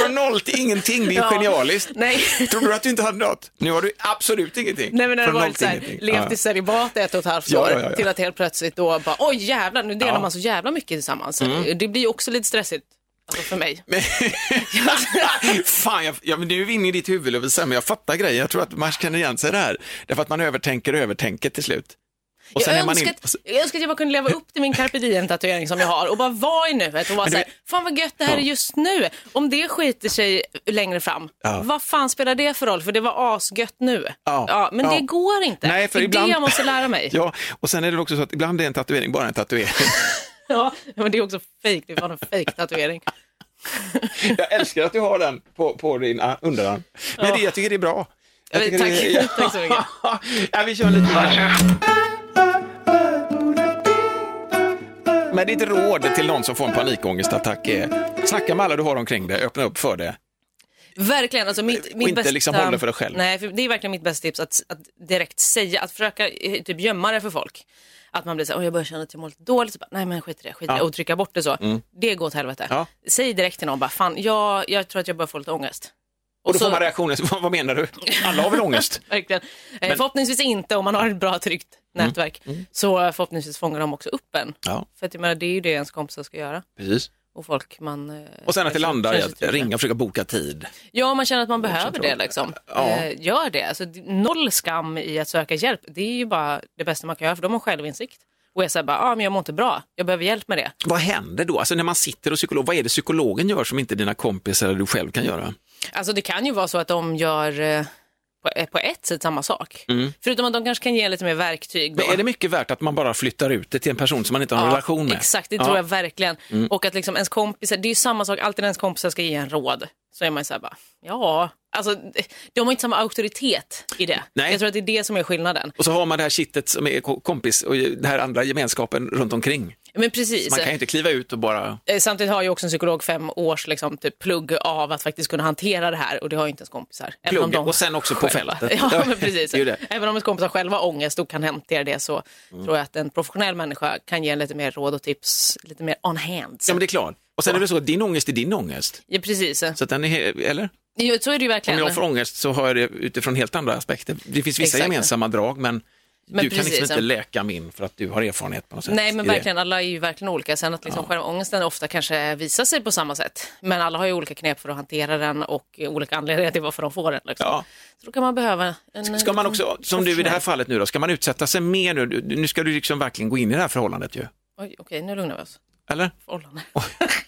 Speaker 2: Från noll till ingenting, det är
Speaker 1: Ja.
Speaker 2: genialiskt.
Speaker 1: Nej.
Speaker 2: Trodde du att du inte hade något? Nu har du absolut ingenting.
Speaker 1: Nej men när det
Speaker 2: Från noll
Speaker 1: varit
Speaker 2: till
Speaker 1: så här,
Speaker 2: ingenting.
Speaker 1: levt i
Speaker 2: Ja.
Speaker 1: celibat ett och ett halvt
Speaker 2: Ja,
Speaker 1: år
Speaker 2: ja, ja, ja.
Speaker 1: till att helt plötsligt då bara oj jävlar nu delar
Speaker 2: Ja. Mm.
Speaker 1: man så jävla mycket tillsammans. Det blir ju också lite stressigt alltså för mig.
Speaker 2: Fan, jag, ja, men nu är vi inne i ditt huvud Lovisa, men jag fattar grejen. Jag tror att man känner igen sig där. Därför att man övertänker och övertänker till slut. Och
Speaker 1: Jag
Speaker 2: är man
Speaker 1: önskar,
Speaker 2: in-
Speaker 1: att, jag önskar att jag bara kunde leva upp till min carpe diem tatuering som jag har och bara vara i nuet och vara
Speaker 2: Men du
Speaker 1: såhär,
Speaker 2: vet-
Speaker 1: fan vad gött det här är just nu. Om det skiter sig längre fram,
Speaker 2: Ja.
Speaker 1: vad fan spelar det för roll? För det var asgött nu.
Speaker 2: Ja.
Speaker 1: men
Speaker 2: Ja.
Speaker 1: det går inte.
Speaker 2: Nej, för
Speaker 1: det är
Speaker 2: ibland-
Speaker 1: det jag måste lära mig. ja.
Speaker 2: Ja, och sen är det väl också så att ibland är en tatuering bara en tatuering.
Speaker 1: men det är också fejk, det är fan en fejk tatuering.
Speaker 2: jag älskar att du har den på, på din ah, underarm. Men det, jag tycker det är bra. Jag
Speaker 1: Ja, men
Speaker 2: tycker det
Speaker 1: tack. Tack så
Speaker 2: mycket. ja, vi kör lite här. Men ditt råd till någon som får en panikångestattack är, snacka med alla du har omkring dig, öppna upp för det.
Speaker 1: Verkligen, alltså mitt,
Speaker 2: Och
Speaker 1: mitt
Speaker 2: inte
Speaker 1: bästa...
Speaker 2: liksom hålla för dig själv.
Speaker 1: Nej, för det är verkligen mitt bästa tips att, att direkt säga, att försöka eh, typ gömma det för folk. Att man blir så här, "Åh, jag börjar känna att jag mår lite dåligt, så bara, nej men skit i det, skit i det,
Speaker 2: Ja. Mm.
Speaker 1: och trycka bort det så. Det går åt helvete.
Speaker 2: Ja.
Speaker 1: Säg direkt till någon bara, fan jag, jag tror att jag börjar få lite ångest.
Speaker 2: Och då
Speaker 1: så-
Speaker 2: får man reaktioner, vad, vad menar du? Alla har väl ångest?
Speaker 1: Verkligen. Eh, Förhoppningsvis inte om man har ett bra tryggt
Speaker 2: Mm.
Speaker 1: nätverk. Så eh, förhoppningsvis fångar de också upp en.
Speaker 2: Ja,
Speaker 1: För att jag menar, det är ju det ens kompisar ska göra.
Speaker 2: precis.
Speaker 1: Och folk man... eh,
Speaker 2: Och sen att det
Speaker 1: känner-
Speaker 2: landar i
Speaker 1: känner sig
Speaker 2: att
Speaker 1: trygg med.
Speaker 2: ringa och försöka boka tid.
Speaker 1: Ja, om man känner att man behöver det. Liksom.
Speaker 2: Ja.
Speaker 1: Eh, gör det. Alltså, d- noll skam i att söka hjälp. Det är ju bara det bästa man kan göra, för de har självinsikt. Och är så här, bara, ah, men jag mår inte bra, jag behöver hjälp med det.
Speaker 2: Vad händer då? Alltså när man sitter och psykolog, vad är det psykologen gör som inte dina kompisar eller du själv kan göra?
Speaker 1: Alltså, det kan ju vara så att de gör eh, på, eh, på ett sätt samma sak. Förutom att de kanske kan ge lite mer verktyg. då.
Speaker 2: Mm. Men är det mycket värt att man bara flyttar ut det till en person som man inte har en
Speaker 1: Ja,
Speaker 2: relation med?
Speaker 1: Exakt, det
Speaker 2: Ja. Mm.
Speaker 1: tror jag verkligen. Och att liksom ens kompisar, det är ju samma sak, alltid när ens kompisar ska ge en råd så är man ju så här bara, ja, alltså de har inte samma auktoritet i det.
Speaker 2: Nej.
Speaker 1: Jag tror att det är det som är skillnaden.
Speaker 2: Och så har man det här kittet som är ko- kompis och den här andra gemenskapen runt omkring.
Speaker 1: Men precis.
Speaker 2: Man kan ju inte kliva ut och bara...
Speaker 1: Eh, Samtidigt har ju också en psykolog fem års liksom, typ, plugg av att faktiskt kunna hantera det här och det har ju inte ens kompisar. Även om
Speaker 2: Plugg,
Speaker 1: de
Speaker 2: och sen också på
Speaker 1: själva-
Speaker 2: fältet.
Speaker 1: Ja, men precis.
Speaker 2: Det Mm. är ju det.
Speaker 1: Även om ens kompisar själva har ångest och kan hantera det så tror jag att en professionell människa kan ge en lite mer råd och tips, lite mer on hand.
Speaker 2: Ja, men det är klart. Och sen är det så att din ångest är din ångest.
Speaker 1: Ja, precis.
Speaker 2: Så att den är, he- eller?
Speaker 1: Jo, så är det ju
Speaker 2: Om
Speaker 1: verkligen.
Speaker 2: jag får ångest så har jag det utifrån helt andra aspekter. Det finns vissa
Speaker 1: Exakt.
Speaker 2: gemensamma drag men,
Speaker 1: Men
Speaker 2: du kan
Speaker 1: precis,
Speaker 2: liksom
Speaker 1: ja.
Speaker 2: inte läka min för att du har erfarenhet på något sätt.
Speaker 1: Nej, men
Speaker 2: i det.
Speaker 1: verkligen. Alla är ju verkligen olika. Sen att liksom själva ångesten ofta kanske visar sig på samma sätt. Men alla har ju olika knep för att hantera den och eh, olika anledningar till varför de får den. Liksom.
Speaker 2: Ja.
Speaker 1: Så då kan man behöva en...
Speaker 2: Ska man
Speaker 1: en-
Speaker 2: också, som du i det här fallet nu då, ska man utsätta sig mer nu? Du- Nu ska du liksom verkligen gå in i det här förhållandet ju.
Speaker 1: Oj, okej, nu lugnar vi oss.
Speaker 2: Eller?
Speaker 1: Förhållande.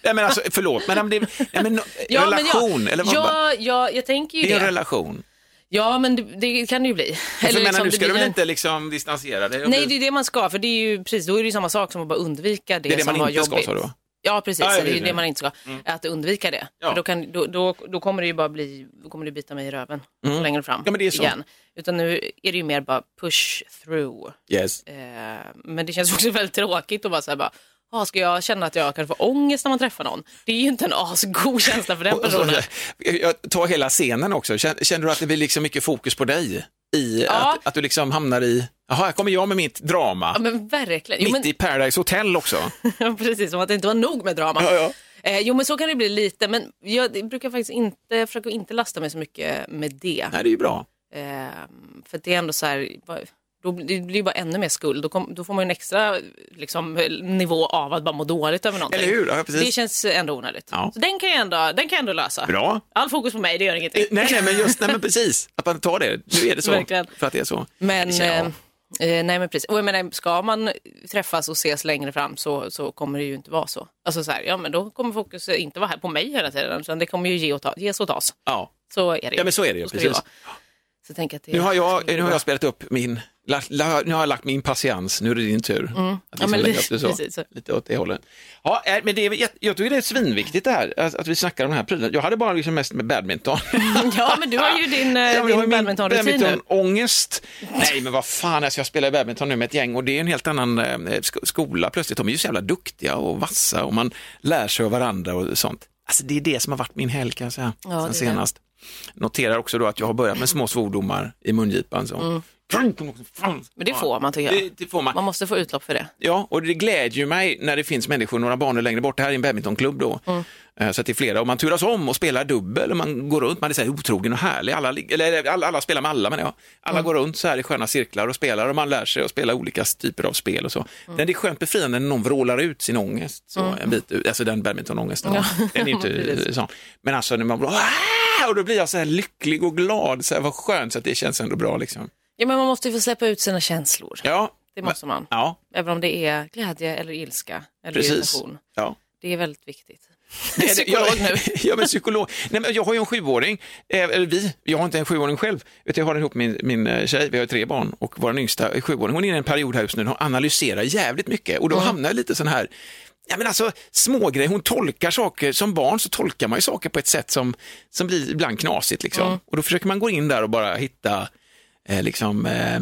Speaker 2: Nej men alltså, förlåt, men, det, nej, men no-
Speaker 1: men
Speaker 2: relation,
Speaker 1: ja,
Speaker 2: eller vad bara-
Speaker 1: ja, ja, jag tänker ju
Speaker 2: Det är
Speaker 1: det.
Speaker 2: en relation.
Speaker 1: Ja, men det, det kan det ju bli.
Speaker 2: Eller Alltså, menar,
Speaker 1: liksom,
Speaker 2: nu
Speaker 1: det
Speaker 2: ska du
Speaker 1: blir
Speaker 2: väl
Speaker 1: en-
Speaker 2: inte liksom distansera dig?
Speaker 1: Nej, det är det man ska, för det är ju precis, då är det ju samma sak som att bara undvika det,
Speaker 2: Det är det
Speaker 1: som
Speaker 2: man
Speaker 1: var
Speaker 2: inte
Speaker 1: jobbigt.
Speaker 2: ska, sa du va?
Speaker 1: Ja, precis.
Speaker 2: Ja,
Speaker 1: det
Speaker 2: jag
Speaker 1: är ju
Speaker 2: vet
Speaker 1: det
Speaker 2: det.
Speaker 1: man inte ska. Att undvika det.
Speaker 2: Ja.
Speaker 1: För då, kan, då, då, då kommer det ju bara bli, då kommer det bita mig i röven längre fram
Speaker 2: Mm. Ja, men det är så.
Speaker 1: igen. Utan nu är det ju mer bara push through.
Speaker 2: Yes.
Speaker 1: Eh, men det känns också väldigt tråkigt att bara säga bara, "Ah, ska jag känna att jag kan få ångest när man träffar någon? Det är ju inte en asgod känsla för den
Speaker 2: Och så,
Speaker 1: personen.
Speaker 2: jag jag tar hela scenen också. Känner, känner du att det blir liksom mycket fokus på dig? I
Speaker 1: Ja.
Speaker 2: att, att du liksom hamnar i, jaha, här kommer jag med mitt drama.
Speaker 1: Ja men verkligen. Jo,
Speaker 2: Mitt
Speaker 1: men,
Speaker 2: i Paradise Hotel också.
Speaker 1: precis, som att det inte var nog med drama.
Speaker 2: Ja, ja.
Speaker 1: Eh, jo men så kan det bli lite, men jag det brukar faktiskt inte, jag försöker inte lasta mig så mycket med det.
Speaker 2: Nej, det är ju bra.
Speaker 1: Ehm, för det är ändå så här, vad- då blir det blir bara ännu mer skuld. Då, kom, då får man ju en extra liksom, nivå av att bara må dåligt över någonting.
Speaker 2: Eller hur? Ja, precis.
Speaker 1: Det känns ändå onödigt.
Speaker 2: Ja.
Speaker 1: Så den kan, jag ändå, den kan jag ändå lösa.
Speaker 2: Bra.
Speaker 1: All fokus på mig, det gör ingenting.
Speaker 2: Eh, Nej, nej, men just, nej, men precis. Att man tar det. Nu är det så.
Speaker 1: Verkligen.
Speaker 2: För att det är så.
Speaker 1: Men,
Speaker 2: Det känner jag.
Speaker 1: eh, eh, nej men precis. Och jag menar, ska man träffas och ses längre fram så, så kommer det ju inte vara så. Alltså så här, ja men då kommer fokus inte vara här på mig hela tiden, utan det kommer ju ge och ta, ges och tas.
Speaker 2: ja.
Speaker 1: Så är det ju.
Speaker 2: ja, men så är det ju.
Speaker 1: Så ska det ju
Speaker 2: Precis.
Speaker 1: vara. Så jag tänker att det,
Speaker 2: Nu har, jag, nu har jag spelat upp min, la, la, nu har jag lagt min patiens, nu är det din tur. Att
Speaker 1: Mm. Ja, men
Speaker 2: lägga
Speaker 1: li-
Speaker 2: upp det så.
Speaker 1: precis så.
Speaker 2: Lite åt det hållet. Ja, eh, men det är, väl jätte- jag tycker det är svinviktigt det här, att, att vi snackar om den här prylen. Jag hade bara liksom mest med badminton.
Speaker 1: Ja, men du har ju din, eh,
Speaker 2: Ja, men jag har
Speaker 1: din
Speaker 2: ju min
Speaker 1: badmintonrutin nu.
Speaker 2: badmintonångest. Nej, men vad fan, alltså jag spelar badminton nu med ett gäng och det är en helt annan eh, sk- skola plötsligt. De är ju så jävla duktiga och vassa och man lär sig av varandra och sånt. Alltså det är det som har varit min helg kan jag säga,
Speaker 1: det är
Speaker 2: sen
Speaker 1: det.
Speaker 2: senast. Noterar också då att jag har börjat med små svordomar i mungipan. Så.
Speaker 1: Mm. Men det får man tycker jag.
Speaker 2: Det, det får man.
Speaker 1: Man måste få utlopp för det.
Speaker 2: Ja, och det glädjer ju mig när det finns människor några banor längre bort. Det här är en badmintonklubb då.
Speaker 1: Mm.
Speaker 2: Eh, Så att det är flera och man turas om och spelar dubbel och man går runt, man är så här otrogen och härlig. Alla, lig- eller, alla, alla spelar med alla menar jag. Alla
Speaker 1: Mm.
Speaker 2: går runt så här i sköna cirklar och spelar och man lär sig att spela olika typer av spel och så.
Speaker 1: Mm.
Speaker 2: Men det är skönt befriande när någon vrålar ut sin ångest, så en bit, ut. alltså den badmintonångesten. Den är inte sån. Men alltså när man bara, "Ah!" och då blir jag så här lycklig och glad, så här, vad skönt, så att det känns ändå bra liksom.
Speaker 1: Ja, men man måste ju få släppa ut sina känslor.
Speaker 2: Ja,
Speaker 1: Det måste man.
Speaker 2: ja,
Speaker 1: Även om det är glädje eller ilska eller
Speaker 2: precis.
Speaker 1: irritation.
Speaker 2: Ja.
Speaker 1: Det är väldigt viktigt.
Speaker 2: Nej, det-
Speaker 1: Psykolog
Speaker 2: jag,
Speaker 1: nu.
Speaker 2: ja, men psykolog. Nej, men jag har ju en sjuåring, eh, eller vi, jag har inte en sjuåring själv, utan jag har den ihop med min, min eh, tjej, vi har ju tre barn och vår yngsta är sjuåring, hon är i en period här just nu, hon analyserar jävligt mycket och då hamnar jag lite sån här, ja men alltså smågrejer, hon tolkar saker, som barn så tolkar man ju saker på ett sätt som, som blir ibland knasigt liksom. Och då försöker man gå in där och bara hitta eh, liksom, eh,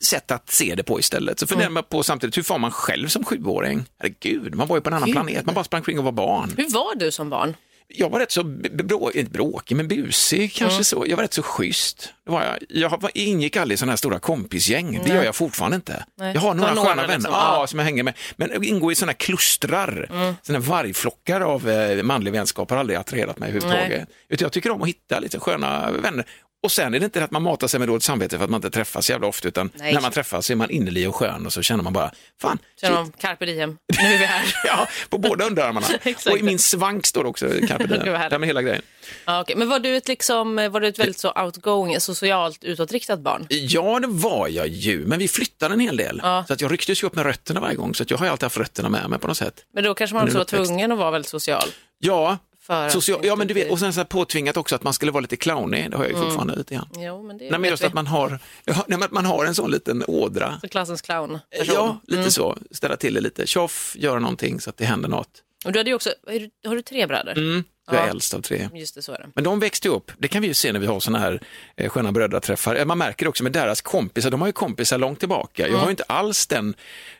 Speaker 2: sätt att se det på istället. Så funderar man på samtidigt, hur far man själv som sjuåring? Herregud, man var ju på en annan planet, man bara sprang kring och var barn.
Speaker 1: Hur var du som barn?
Speaker 2: jag var rätt så b- b- brå, inte bråkig, men busig kanske så. Jag var rätt så schysst. Det var jag. jag var, ingick aldrig i sådana här stora kompisgäng. Det gör jag fortfarande inte.
Speaker 1: Nej.
Speaker 2: Jag har några
Speaker 1: Har några
Speaker 2: sköna vänner
Speaker 1: liksom,
Speaker 2: ja.
Speaker 1: ja.
Speaker 2: som jag hänger med. Men ingår i sådana här klustrar, mm. sådana här vargflockar av eh, manlig vänskap har aldrig attraherat mig överhuvudtaget. Utan jag tycker om att hitta lite sköna vänner. Och sen är det inte att man matar sig med dåligt samvete för att man inte träffas så jävla ofta, utan
Speaker 1: Nej.
Speaker 2: när man träffas så är man innerlig och skön och så känner man bara, fan,
Speaker 1: Känner de carpe diem, nu är vi här.
Speaker 2: Ja, på båda underarmarna.
Speaker 1: Exakt.
Speaker 2: och i min svank står det också carpe diem.
Speaker 1: Gud, vad härligt.
Speaker 2: Ja, men hela grejen.
Speaker 1: Ja, okej. Men var du ett, liksom, var du ett väldigt så outgoing, socialt utåtriktat barn?
Speaker 2: Ja, det var jag ju, men vi flyttade en hel del. Så att jag rycktes ju upp med rötterna varje gång, så att jag har ju alltid haft rötterna med mig på något sätt.
Speaker 1: Men då kanske man också var
Speaker 2: uppväxt.
Speaker 1: tvungen att vara väldigt social.
Speaker 2: Ja,
Speaker 1: För att
Speaker 2: social,
Speaker 1: inte
Speaker 2: ja men du vet,
Speaker 1: bli-
Speaker 2: och sen så här påtvingat också att man skulle vara lite clownig, det har jag ju fortfarande lite grann.
Speaker 1: Jo, men det
Speaker 2: Nej, men
Speaker 1: vet
Speaker 2: just
Speaker 1: vi.
Speaker 2: att man har, ja, nej, men att man har en sån liten ådra.
Speaker 1: Så klassens clown.
Speaker 2: Ja, lite
Speaker 1: Mm.
Speaker 2: så. Ställa till det lite. Tjoff, göra någonting så att det händer något.
Speaker 1: Och du hade ju också, är du- har du tre bröder?
Speaker 2: Mm, jag är
Speaker 1: Ja.
Speaker 2: äldst av tre.
Speaker 1: Just det, så är det.
Speaker 2: Men de växte ju upp, det kan vi ju se när vi har sådana här eh, sköna brödraträffar. Eh, Man märker det också med deras kompisar, de har ju kompisar långt tillbaka. Jag har
Speaker 1: Mm.
Speaker 2: ju inte alls den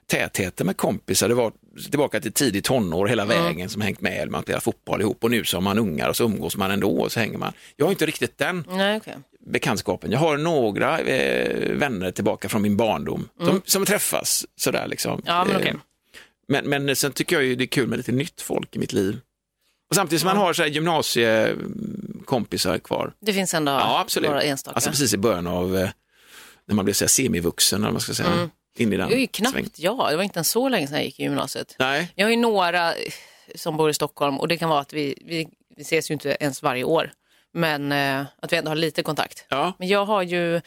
Speaker 2: tätheten med kompisar. Det var tillbaka till tidigt tonår hela
Speaker 1: Mm.
Speaker 2: vägen som hängt med. Man spelar fotboll ihop och nu så har man ungar och så umgås man ändå och så hänger man. Jag har inte riktigt den
Speaker 1: Nej, okej.
Speaker 2: bekantskapen. Jag har några eh, vänner tillbaka från min barndom som, som träffas sådär liksom.
Speaker 1: Mm. Ja, men
Speaker 2: Eh,
Speaker 1: okej.
Speaker 2: men, men sen tycker jag ju det är kul med lite nytt folk i mitt liv. Och samtidigt som man har så här gymnasiekompisar kvar.
Speaker 1: Det finns ändå
Speaker 2: Ja, absolut.
Speaker 1: några enstaka.
Speaker 2: Alltså precis i början av eh, när man blev så här semivuxen, eller vad man ska säga. In i den
Speaker 1: Mm. det var ju knappt
Speaker 2: svängen.
Speaker 1: jag, det var inte ens så länge sedan jag gick i gymnasiet.
Speaker 2: Nej,
Speaker 1: Jag har ju några eh, som bor i Stockholm och det kan vara att vi, vi, vi ses ju inte ens varje år, men eh, att vi ändå har lite kontakt.
Speaker 2: ja.
Speaker 1: Men jag har ju,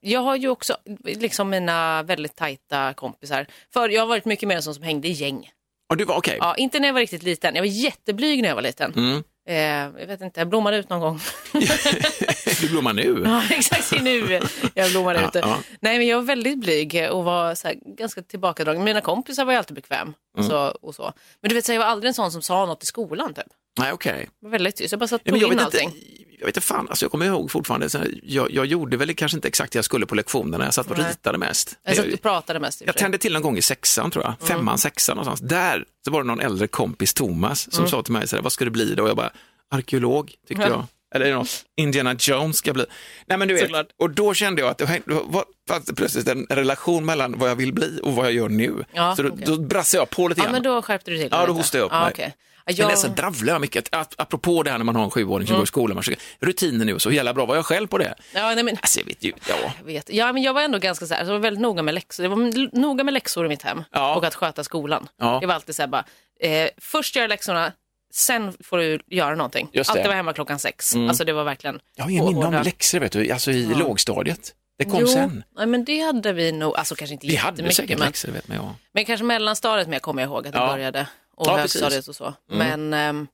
Speaker 1: jag har ju också liksom mina väldigt tajta kompisar. För jag har varit mycket mer en sån som hängde i gäng.
Speaker 2: Och du var okej.
Speaker 1: Ja, inte när jag var riktigt liten. Jag var jätteblyg när jag var liten.
Speaker 2: Mm.
Speaker 1: Eh, jag vet inte, jag blommade ut någon gång.
Speaker 2: Du blommar nu.
Speaker 1: Ja, exakt det är nu jag blommar
Speaker 2: Ja,
Speaker 1: ut.
Speaker 2: ja.
Speaker 1: Nej, men jag var väldigt blyg och var så här, ganska tillbakadragen. Mina kompisar var ju alltid bekväm.
Speaker 2: Mm.
Speaker 1: Så, och så. Men du vet, så här, jag var aldrig en sån som sa något i skolan. Typ.
Speaker 2: Nej, okej.
Speaker 1: Jag var väldigt tyst. Jag bara satt och
Speaker 2: Ja,
Speaker 1: tog
Speaker 2: men jag
Speaker 1: in
Speaker 2: vet inte.
Speaker 1: allting.
Speaker 2: Jag vet inte fan, alltså jag kommer ihåg fortfarande, så här, jag, jag gjorde väl kanske inte exakt det jag skulle på lektionerna, jag satt och
Speaker 1: Nej.
Speaker 2: ritade mest.
Speaker 1: Jag satt
Speaker 2: Jag-
Speaker 1: och pratade mest. i och
Speaker 2: Jag
Speaker 1: för sig. Mm.
Speaker 2: tände till någon gång i sexan tror jag, femman, sexan någonstans. Där så var det någon äldre kompis, Thomas,
Speaker 1: Mm.
Speaker 2: som sa till mig, så här, vad ska du bli då? Och jag bara, arkeolog tyckte jag. Eller är det något, Indiana Jones ska jag bli. Nej men du vet,
Speaker 1: Såklart.
Speaker 2: och då kände jag att det var- det var- fanns det plötsligt en relation mellan vad jag vill bli och vad jag gör nu.
Speaker 1: Ja,
Speaker 2: så då,
Speaker 1: okej.
Speaker 2: då brassade jag på lite
Speaker 1: Ja,
Speaker 2: grann.
Speaker 1: men då skärpte du till
Speaker 2: Ja, då
Speaker 1: lite.
Speaker 2: hostade jag upp
Speaker 1: ja,
Speaker 2: mig.
Speaker 1: okej. Ja,
Speaker 2: Men
Speaker 1: jag- Mm.
Speaker 2: det är så dravlar jag mycket, Ap- apropå det här när man har en sjuåring som går i skolan, man försöker, rutiner nu och så jävla bra, var jag själv på det?
Speaker 1: Ja, nej, men...
Speaker 2: Alltså jag vet ju, ja.
Speaker 1: Jag vet. Ja, men jag var ändå ganska så här, alltså, jag var väldigt noga med läxor. Det var l- noga med läxor i mitt hem
Speaker 2: Ja.
Speaker 1: och att sköta skolan.
Speaker 2: Ja.
Speaker 1: Det var alltid så här bara, eh, först gör jag läxorna, sen får du göra någonting.
Speaker 2: Just det. Mm.
Speaker 1: Alltid var hemma klockan sex. Alltså det var verkligen
Speaker 2: Jag har ingen minne om
Speaker 1: hårda-
Speaker 2: läxor vet du, alltså i lågstadiet. Det kom
Speaker 1: jo,
Speaker 2: sen.
Speaker 1: Nej, men det hade vi nog, alltså kanske inte
Speaker 2: Vi hade säkert
Speaker 1: men,
Speaker 2: läxor, vet man ja.
Speaker 1: men kanske mellanstadiet mer kommer jag ihåg att det
Speaker 2: Ja.
Speaker 1: började. Och
Speaker 2: Ja, precis. Mm.
Speaker 1: högstadiet och så. Men, ehm,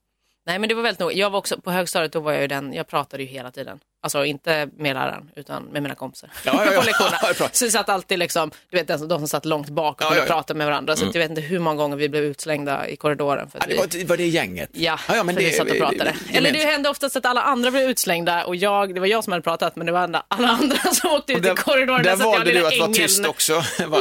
Speaker 1: nej men det var väldigt noga. Jag var också, på högstadiet då var jag ju den, jag pratade ju hela tiden. Alltså inte med läraren, utan med mina kompisar.
Speaker 2: Ja, ja, ja.
Speaker 1: på lektionerna.
Speaker 2: Ja, det är bra.
Speaker 1: Så vi satt alltid liksom, du vet den som- de som satt långt bak och
Speaker 2: Ja, ja, ja.
Speaker 1: pratade med varandra. Så att jag vet inte hur många gånger vi blev utslängda i korridoren. För att
Speaker 2: Ja, det
Speaker 1: vi,
Speaker 2: var, var det gänget?
Speaker 1: Ja,
Speaker 2: ja, ja, men
Speaker 1: för
Speaker 2: det,
Speaker 1: vi satt och pratade. Eller det hände oftast att alla andra blev utslängda och jag, det var jag som hade pratat men det var andra- alla andra som åkte ut i korridoren.
Speaker 2: Där
Speaker 1: så jag var
Speaker 2: valde du
Speaker 1: lilla
Speaker 2: att vara
Speaker 1: ängeln.
Speaker 2: tyst också. Va?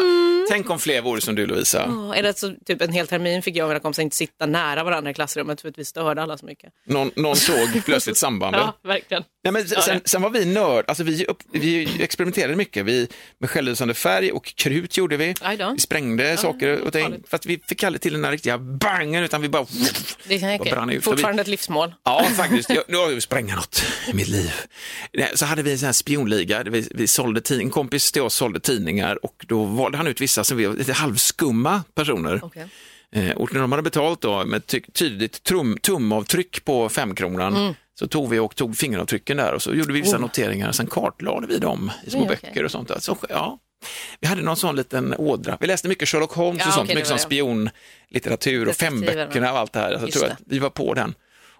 Speaker 2: Tänk om fler vore som du Lovisa.
Speaker 1: Ja, Eller så typ en hel termin fick jag och mina kompisar inte sitta nära varandra i klassrummet för att vi störde alla så mycket.
Speaker 2: Någon, någon såg plötsligt sambandet.
Speaker 1: Ja, verkligen.
Speaker 2: Nej, men sen, sen- sen var vi nörd, alltså vi, upp, vi experimenterade mycket vi, med självlysande färg och krut gjorde vi.
Speaker 1: Aj då.
Speaker 2: Vi sprängde saker och ting, fast vi fick aldrig till den här riktiga bangen utan vi bara...
Speaker 1: Det kan jag
Speaker 2: Vad brann det ut?
Speaker 1: Fortfarande ett livsmål.
Speaker 2: Ja, faktiskt. Jag, nu har jag ju spränga något i mitt liv. Nej, Så hade vi en sån här spionliga. där Vi, vi sålde tid, en kompis till oss sålde tidningar och då valde han ut vissa som vi var lite halvskumma personer.
Speaker 1: Okej.
Speaker 2: Eh, Och när de hade betalt då med ty- tydligt trum, tumavtryck på femkronan
Speaker 1: Mm.
Speaker 2: så tog vi och tog fingeravtrycken där och så gjorde vi vissa noteringar. Sen kartlade vi dem i små
Speaker 1: Oh. Oj, okej.
Speaker 2: böcker och sånt. där. Så, ja. Vi hade någon sån liten ådra. Vi läste mycket Sherlock Holmes
Speaker 1: Ja,
Speaker 2: och sånt,
Speaker 1: okej, det
Speaker 2: mycket
Speaker 1: var
Speaker 2: sån spionlitteratur och
Speaker 1: Detektiverna.
Speaker 2: femböckerna och allt det här. Alltså, jag
Speaker 1: Just
Speaker 2: tror att vi var på den.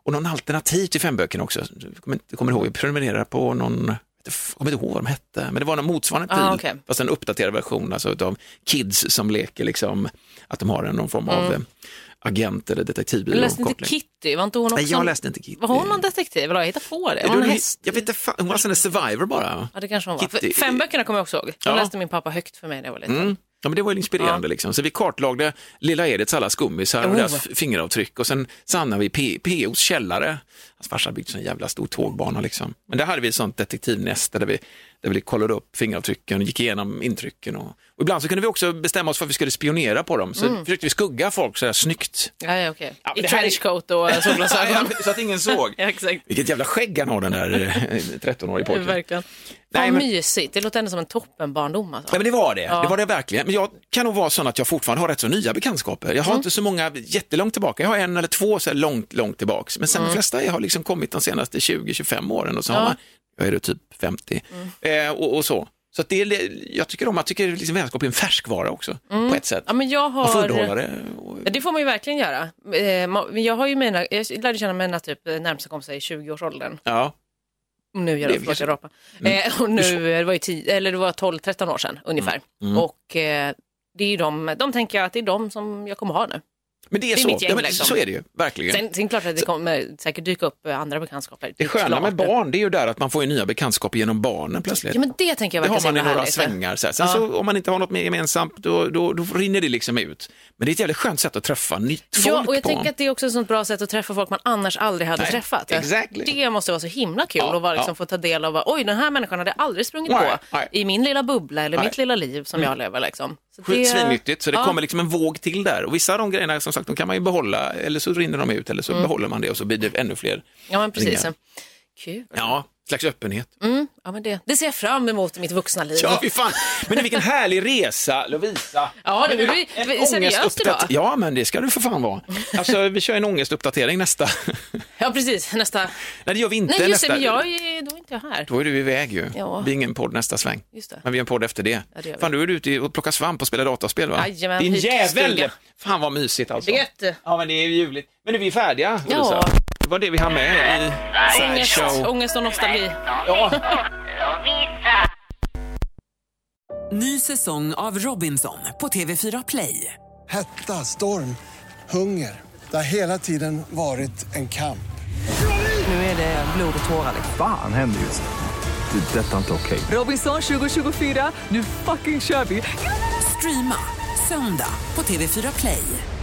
Speaker 2: Och någon alternativ till femböckerna också. Jag kommer, inte- jag kommer ihåg, jag prenumererade på någon, jag kommer inte ihåg vad de hette, men det var någon motsvarande pryl,
Speaker 1: Ah, okej.
Speaker 2: fast en uppdaterad version alltså, av kids som leker, liksom, att de har en, någon form av eh, agent eller
Speaker 1: Jag
Speaker 2: detektivbyrå.
Speaker 1: Mm. läste inte
Speaker 2: koppling.
Speaker 1: Kitty, var inte hon också...
Speaker 2: Nej, jag läste inte Kitty.
Speaker 1: Var hon någon detektiv? Eller har jag hittat på det?
Speaker 2: Är
Speaker 1: Var hon
Speaker 2: du-
Speaker 1: en häst?
Speaker 2: Jag vet inte, fan, hon var en survivor bara.
Speaker 1: Ja, det kanske hon var.
Speaker 2: Kitty-
Speaker 1: Fem böckerna kommer jag också ihåg. De
Speaker 2: Ja.
Speaker 1: läste min pappa högt för mig när jag var liten.
Speaker 2: Mm. Ja, men det var ju inspirerande. Liksom. Så vi kartlagde Lilla Edits alla skummisar och
Speaker 1: Oh.
Speaker 2: deras f- fingeravtryck och sen så hamnade vi i P- POs källare. Hans farsa byggde en jävla stor tågbana. Liksom. Men där hade vi ett sånt detektivnäste där vi, där vi kollade upp fingeravtrycken och gick igenom intrycken. Och, och ibland så kunde vi också bestämma oss för att vi skulle spionera på dem.
Speaker 1: Mm.
Speaker 2: Så försökte vi skugga folk sådär snyggt.
Speaker 1: Ja, ja, okej.
Speaker 2: Ja, men
Speaker 1: I
Speaker 2: det här är-
Speaker 1: trenchcoat och solglasögon.
Speaker 2: så att ingen såg.
Speaker 1: ja, exakt.
Speaker 2: Vilket jävla skägg han har den där eh, 13-årige pojken.
Speaker 1: Verkligen.
Speaker 2: Nej,
Speaker 1: Vad
Speaker 2: men-
Speaker 1: mysigt. Det låter ändå som en toppen barndom. Alltså.
Speaker 2: Ja, men det var det. Det var det verkligen. Men jag kan nog vara sån att jag fortfarande har rätt så nya bekantskaper. Jag har inte så många jättelångt tillbaka. Jag har en eller två så här långt, långt tillbaks. Men sen de flesta jag har liksom kommit de senaste 20-25 åren och så har man, jag är då typ 50
Speaker 1: Mm.
Speaker 2: eh, och, och så. Så att det är, jag tycker om, jag tycker liksom vänskap är en färskvara också på ett sätt.
Speaker 1: Mm. Ja, men jag
Speaker 2: Man får
Speaker 1: har...
Speaker 2: underhålla det. Och,
Speaker 1: Ja, Det får man ju verkligen göra. Eh, ma- men Jag, har ju mina, jag lärde känna mina typ närmsta kompisar i 20-årsåldern.
Speaker 2: ja.
Speaker 1: Och Nu gör
Speaker 2: Det Mm.
Speaker 1: jag
Speaker 2: är
Speaker 1: det, förlåt
Speaker 2: väl-
Speaker 1: jag rapar. Eh, och nu, eh, det var ju 10 eller det var 12-13 år sedan ungefär.
Speaker 2: Mm.
Speaker 1: Och eh, det är ju de, de tänker jag att det är de som jag kommer ha nu.
Speaker 2: Men det är,
Speaker 1: Det är
Speaker 2: så.
Speaker 1: mitt gäng,
Speaker 2: ja, men,
Speaker 1: liksom.
Speaker 2: Så är det ju, verkligen.
Speaker 1: Sen, sen klart att det kommer säkert dyka upp eh, andra bekantskaper.
Speaker 2: det
Speaker 1: är
Speaker 2: sköna
Speaker 1: klart.
Speaker 2: med barn, det är ju där att man får ju nya bekantskaper genom barnen plötsligt.
Speaker 1: Ja men det tänker jag
Speaker 2: Det
Speaker 1: verkligen
Speaker 2: har man i
Speaker 1: så himla
Speaker 2: några
Speaker 1: härligt.
Speaker 2: svängar. Så här. Sen
Speaker 1: Ja.
Speaker 2: så, om man inte har något mer gemensamt, då, då, då rinner det liksom ut. Men det är ett jävligt skönt sätt att träffa nytt folk
Speaker 1: Ja, och jag
Speaker 2: på.
Speaker 1: tänker att det är också ett sånt bra sätt att träffa folk man annars aldrig hade
Speaker 2: Nej,
Speaker 1: träffat.
Speaker 2: exactly.
Speaker 1: Det måste vara så himla kul
Speaker 2: Ja,
Speaker 1: att vara, liksom,
Speaker 2: ja.
Speaker 1: få ta del av, vad- oj den här människan hade jag aldrig sprungit
Speaker 2: Nej,
Speaker 1: på
Speaker 2: nej.
Speaker 1: i min lilla bubbla eller
Speaker 2: Nej.
Speaker 1: mitt lilla liv som jag lever. Liksom. Så
Speaker 2: Skit- Svinnyttigt, så det
Speaker 1: ja.
Speaker 2: kommer liksom en våg till där. Och vissa av de grejerna, som sagt, de kan man ju behålla, eller så rinner de ut, eller
Speaker 1: Mm.
Speaker 2: så behåller man det och så blir det ännu fler.
Speaker 1: Ja, men precis.
Speaker 2: ringar.
Speaker 1: Kul.
Speaker 2: Ja, slags öppenhet.
Speaker 1: Ja, men det, det ser jag fram emot i mitt vuxna liv.
Speaker 2: Ja, fy fan. Men vilken härlig resa, Lovisa.
Speaker 1: Ja, det blir
Speaker 2: En
Speaker 1: det är seriöst idag.
Speaker 2: ångestuppdat- Ja, men det ska du för fan vara. Alltså, vi kör en ångestuppdatering nästa. Nej,
Speaker 1: Ja, precis. Nästa.
Speaker 2: det gör vi inte.
Speaker 1: Nej, just
Speaker 2: nästa.
Speaker 1: det, men jag är då är inte jag här.
Speaker 2: Då är du iväg ju.
Speaker 1: Ja.
Speaker 2: Det blir ingen podd nästa sväng.
Speaker 1: Just det.
Speaker 2: Men vi har en podd efter det.
Speaker 1: Ja, det gör vi.
Speaker 2: Fan, du är ute och plockar svamp och spelar dataspel va?
Speaker 1: Jajamän,
Speaker 2: Din
Speaker 1: hyrt
Speaker 2: jävel!
Speaker 1: stuga.
Speaker 2: Fan vad mysigt alltså.
Speaker 1: Det är gött.
Speaker 2: Ja, men det är ljuvligt. Men nu är vi färdiga,
Speaker 1: Ja.
Speaker 2: Ulrika. Det var det vi hann med i
Speaker 1: Ångest,
Speaker 2: Sideshow.
Speaker 1: ångest och nostalgi.
Speaker 4: Ny säsong av Robinson på TV4 Play.
Speaker 5: Hetta, storm, hunger. Det har hela tiden varit en kamp.
Speaker 4: Nu är det blod och tårar. liksom.
Speaker 6: Fan händer just det. Det är detta inte okej.
Speaker 4: Robinson 2024, nu fucking kör vi! Streama söndag på TV4 Play.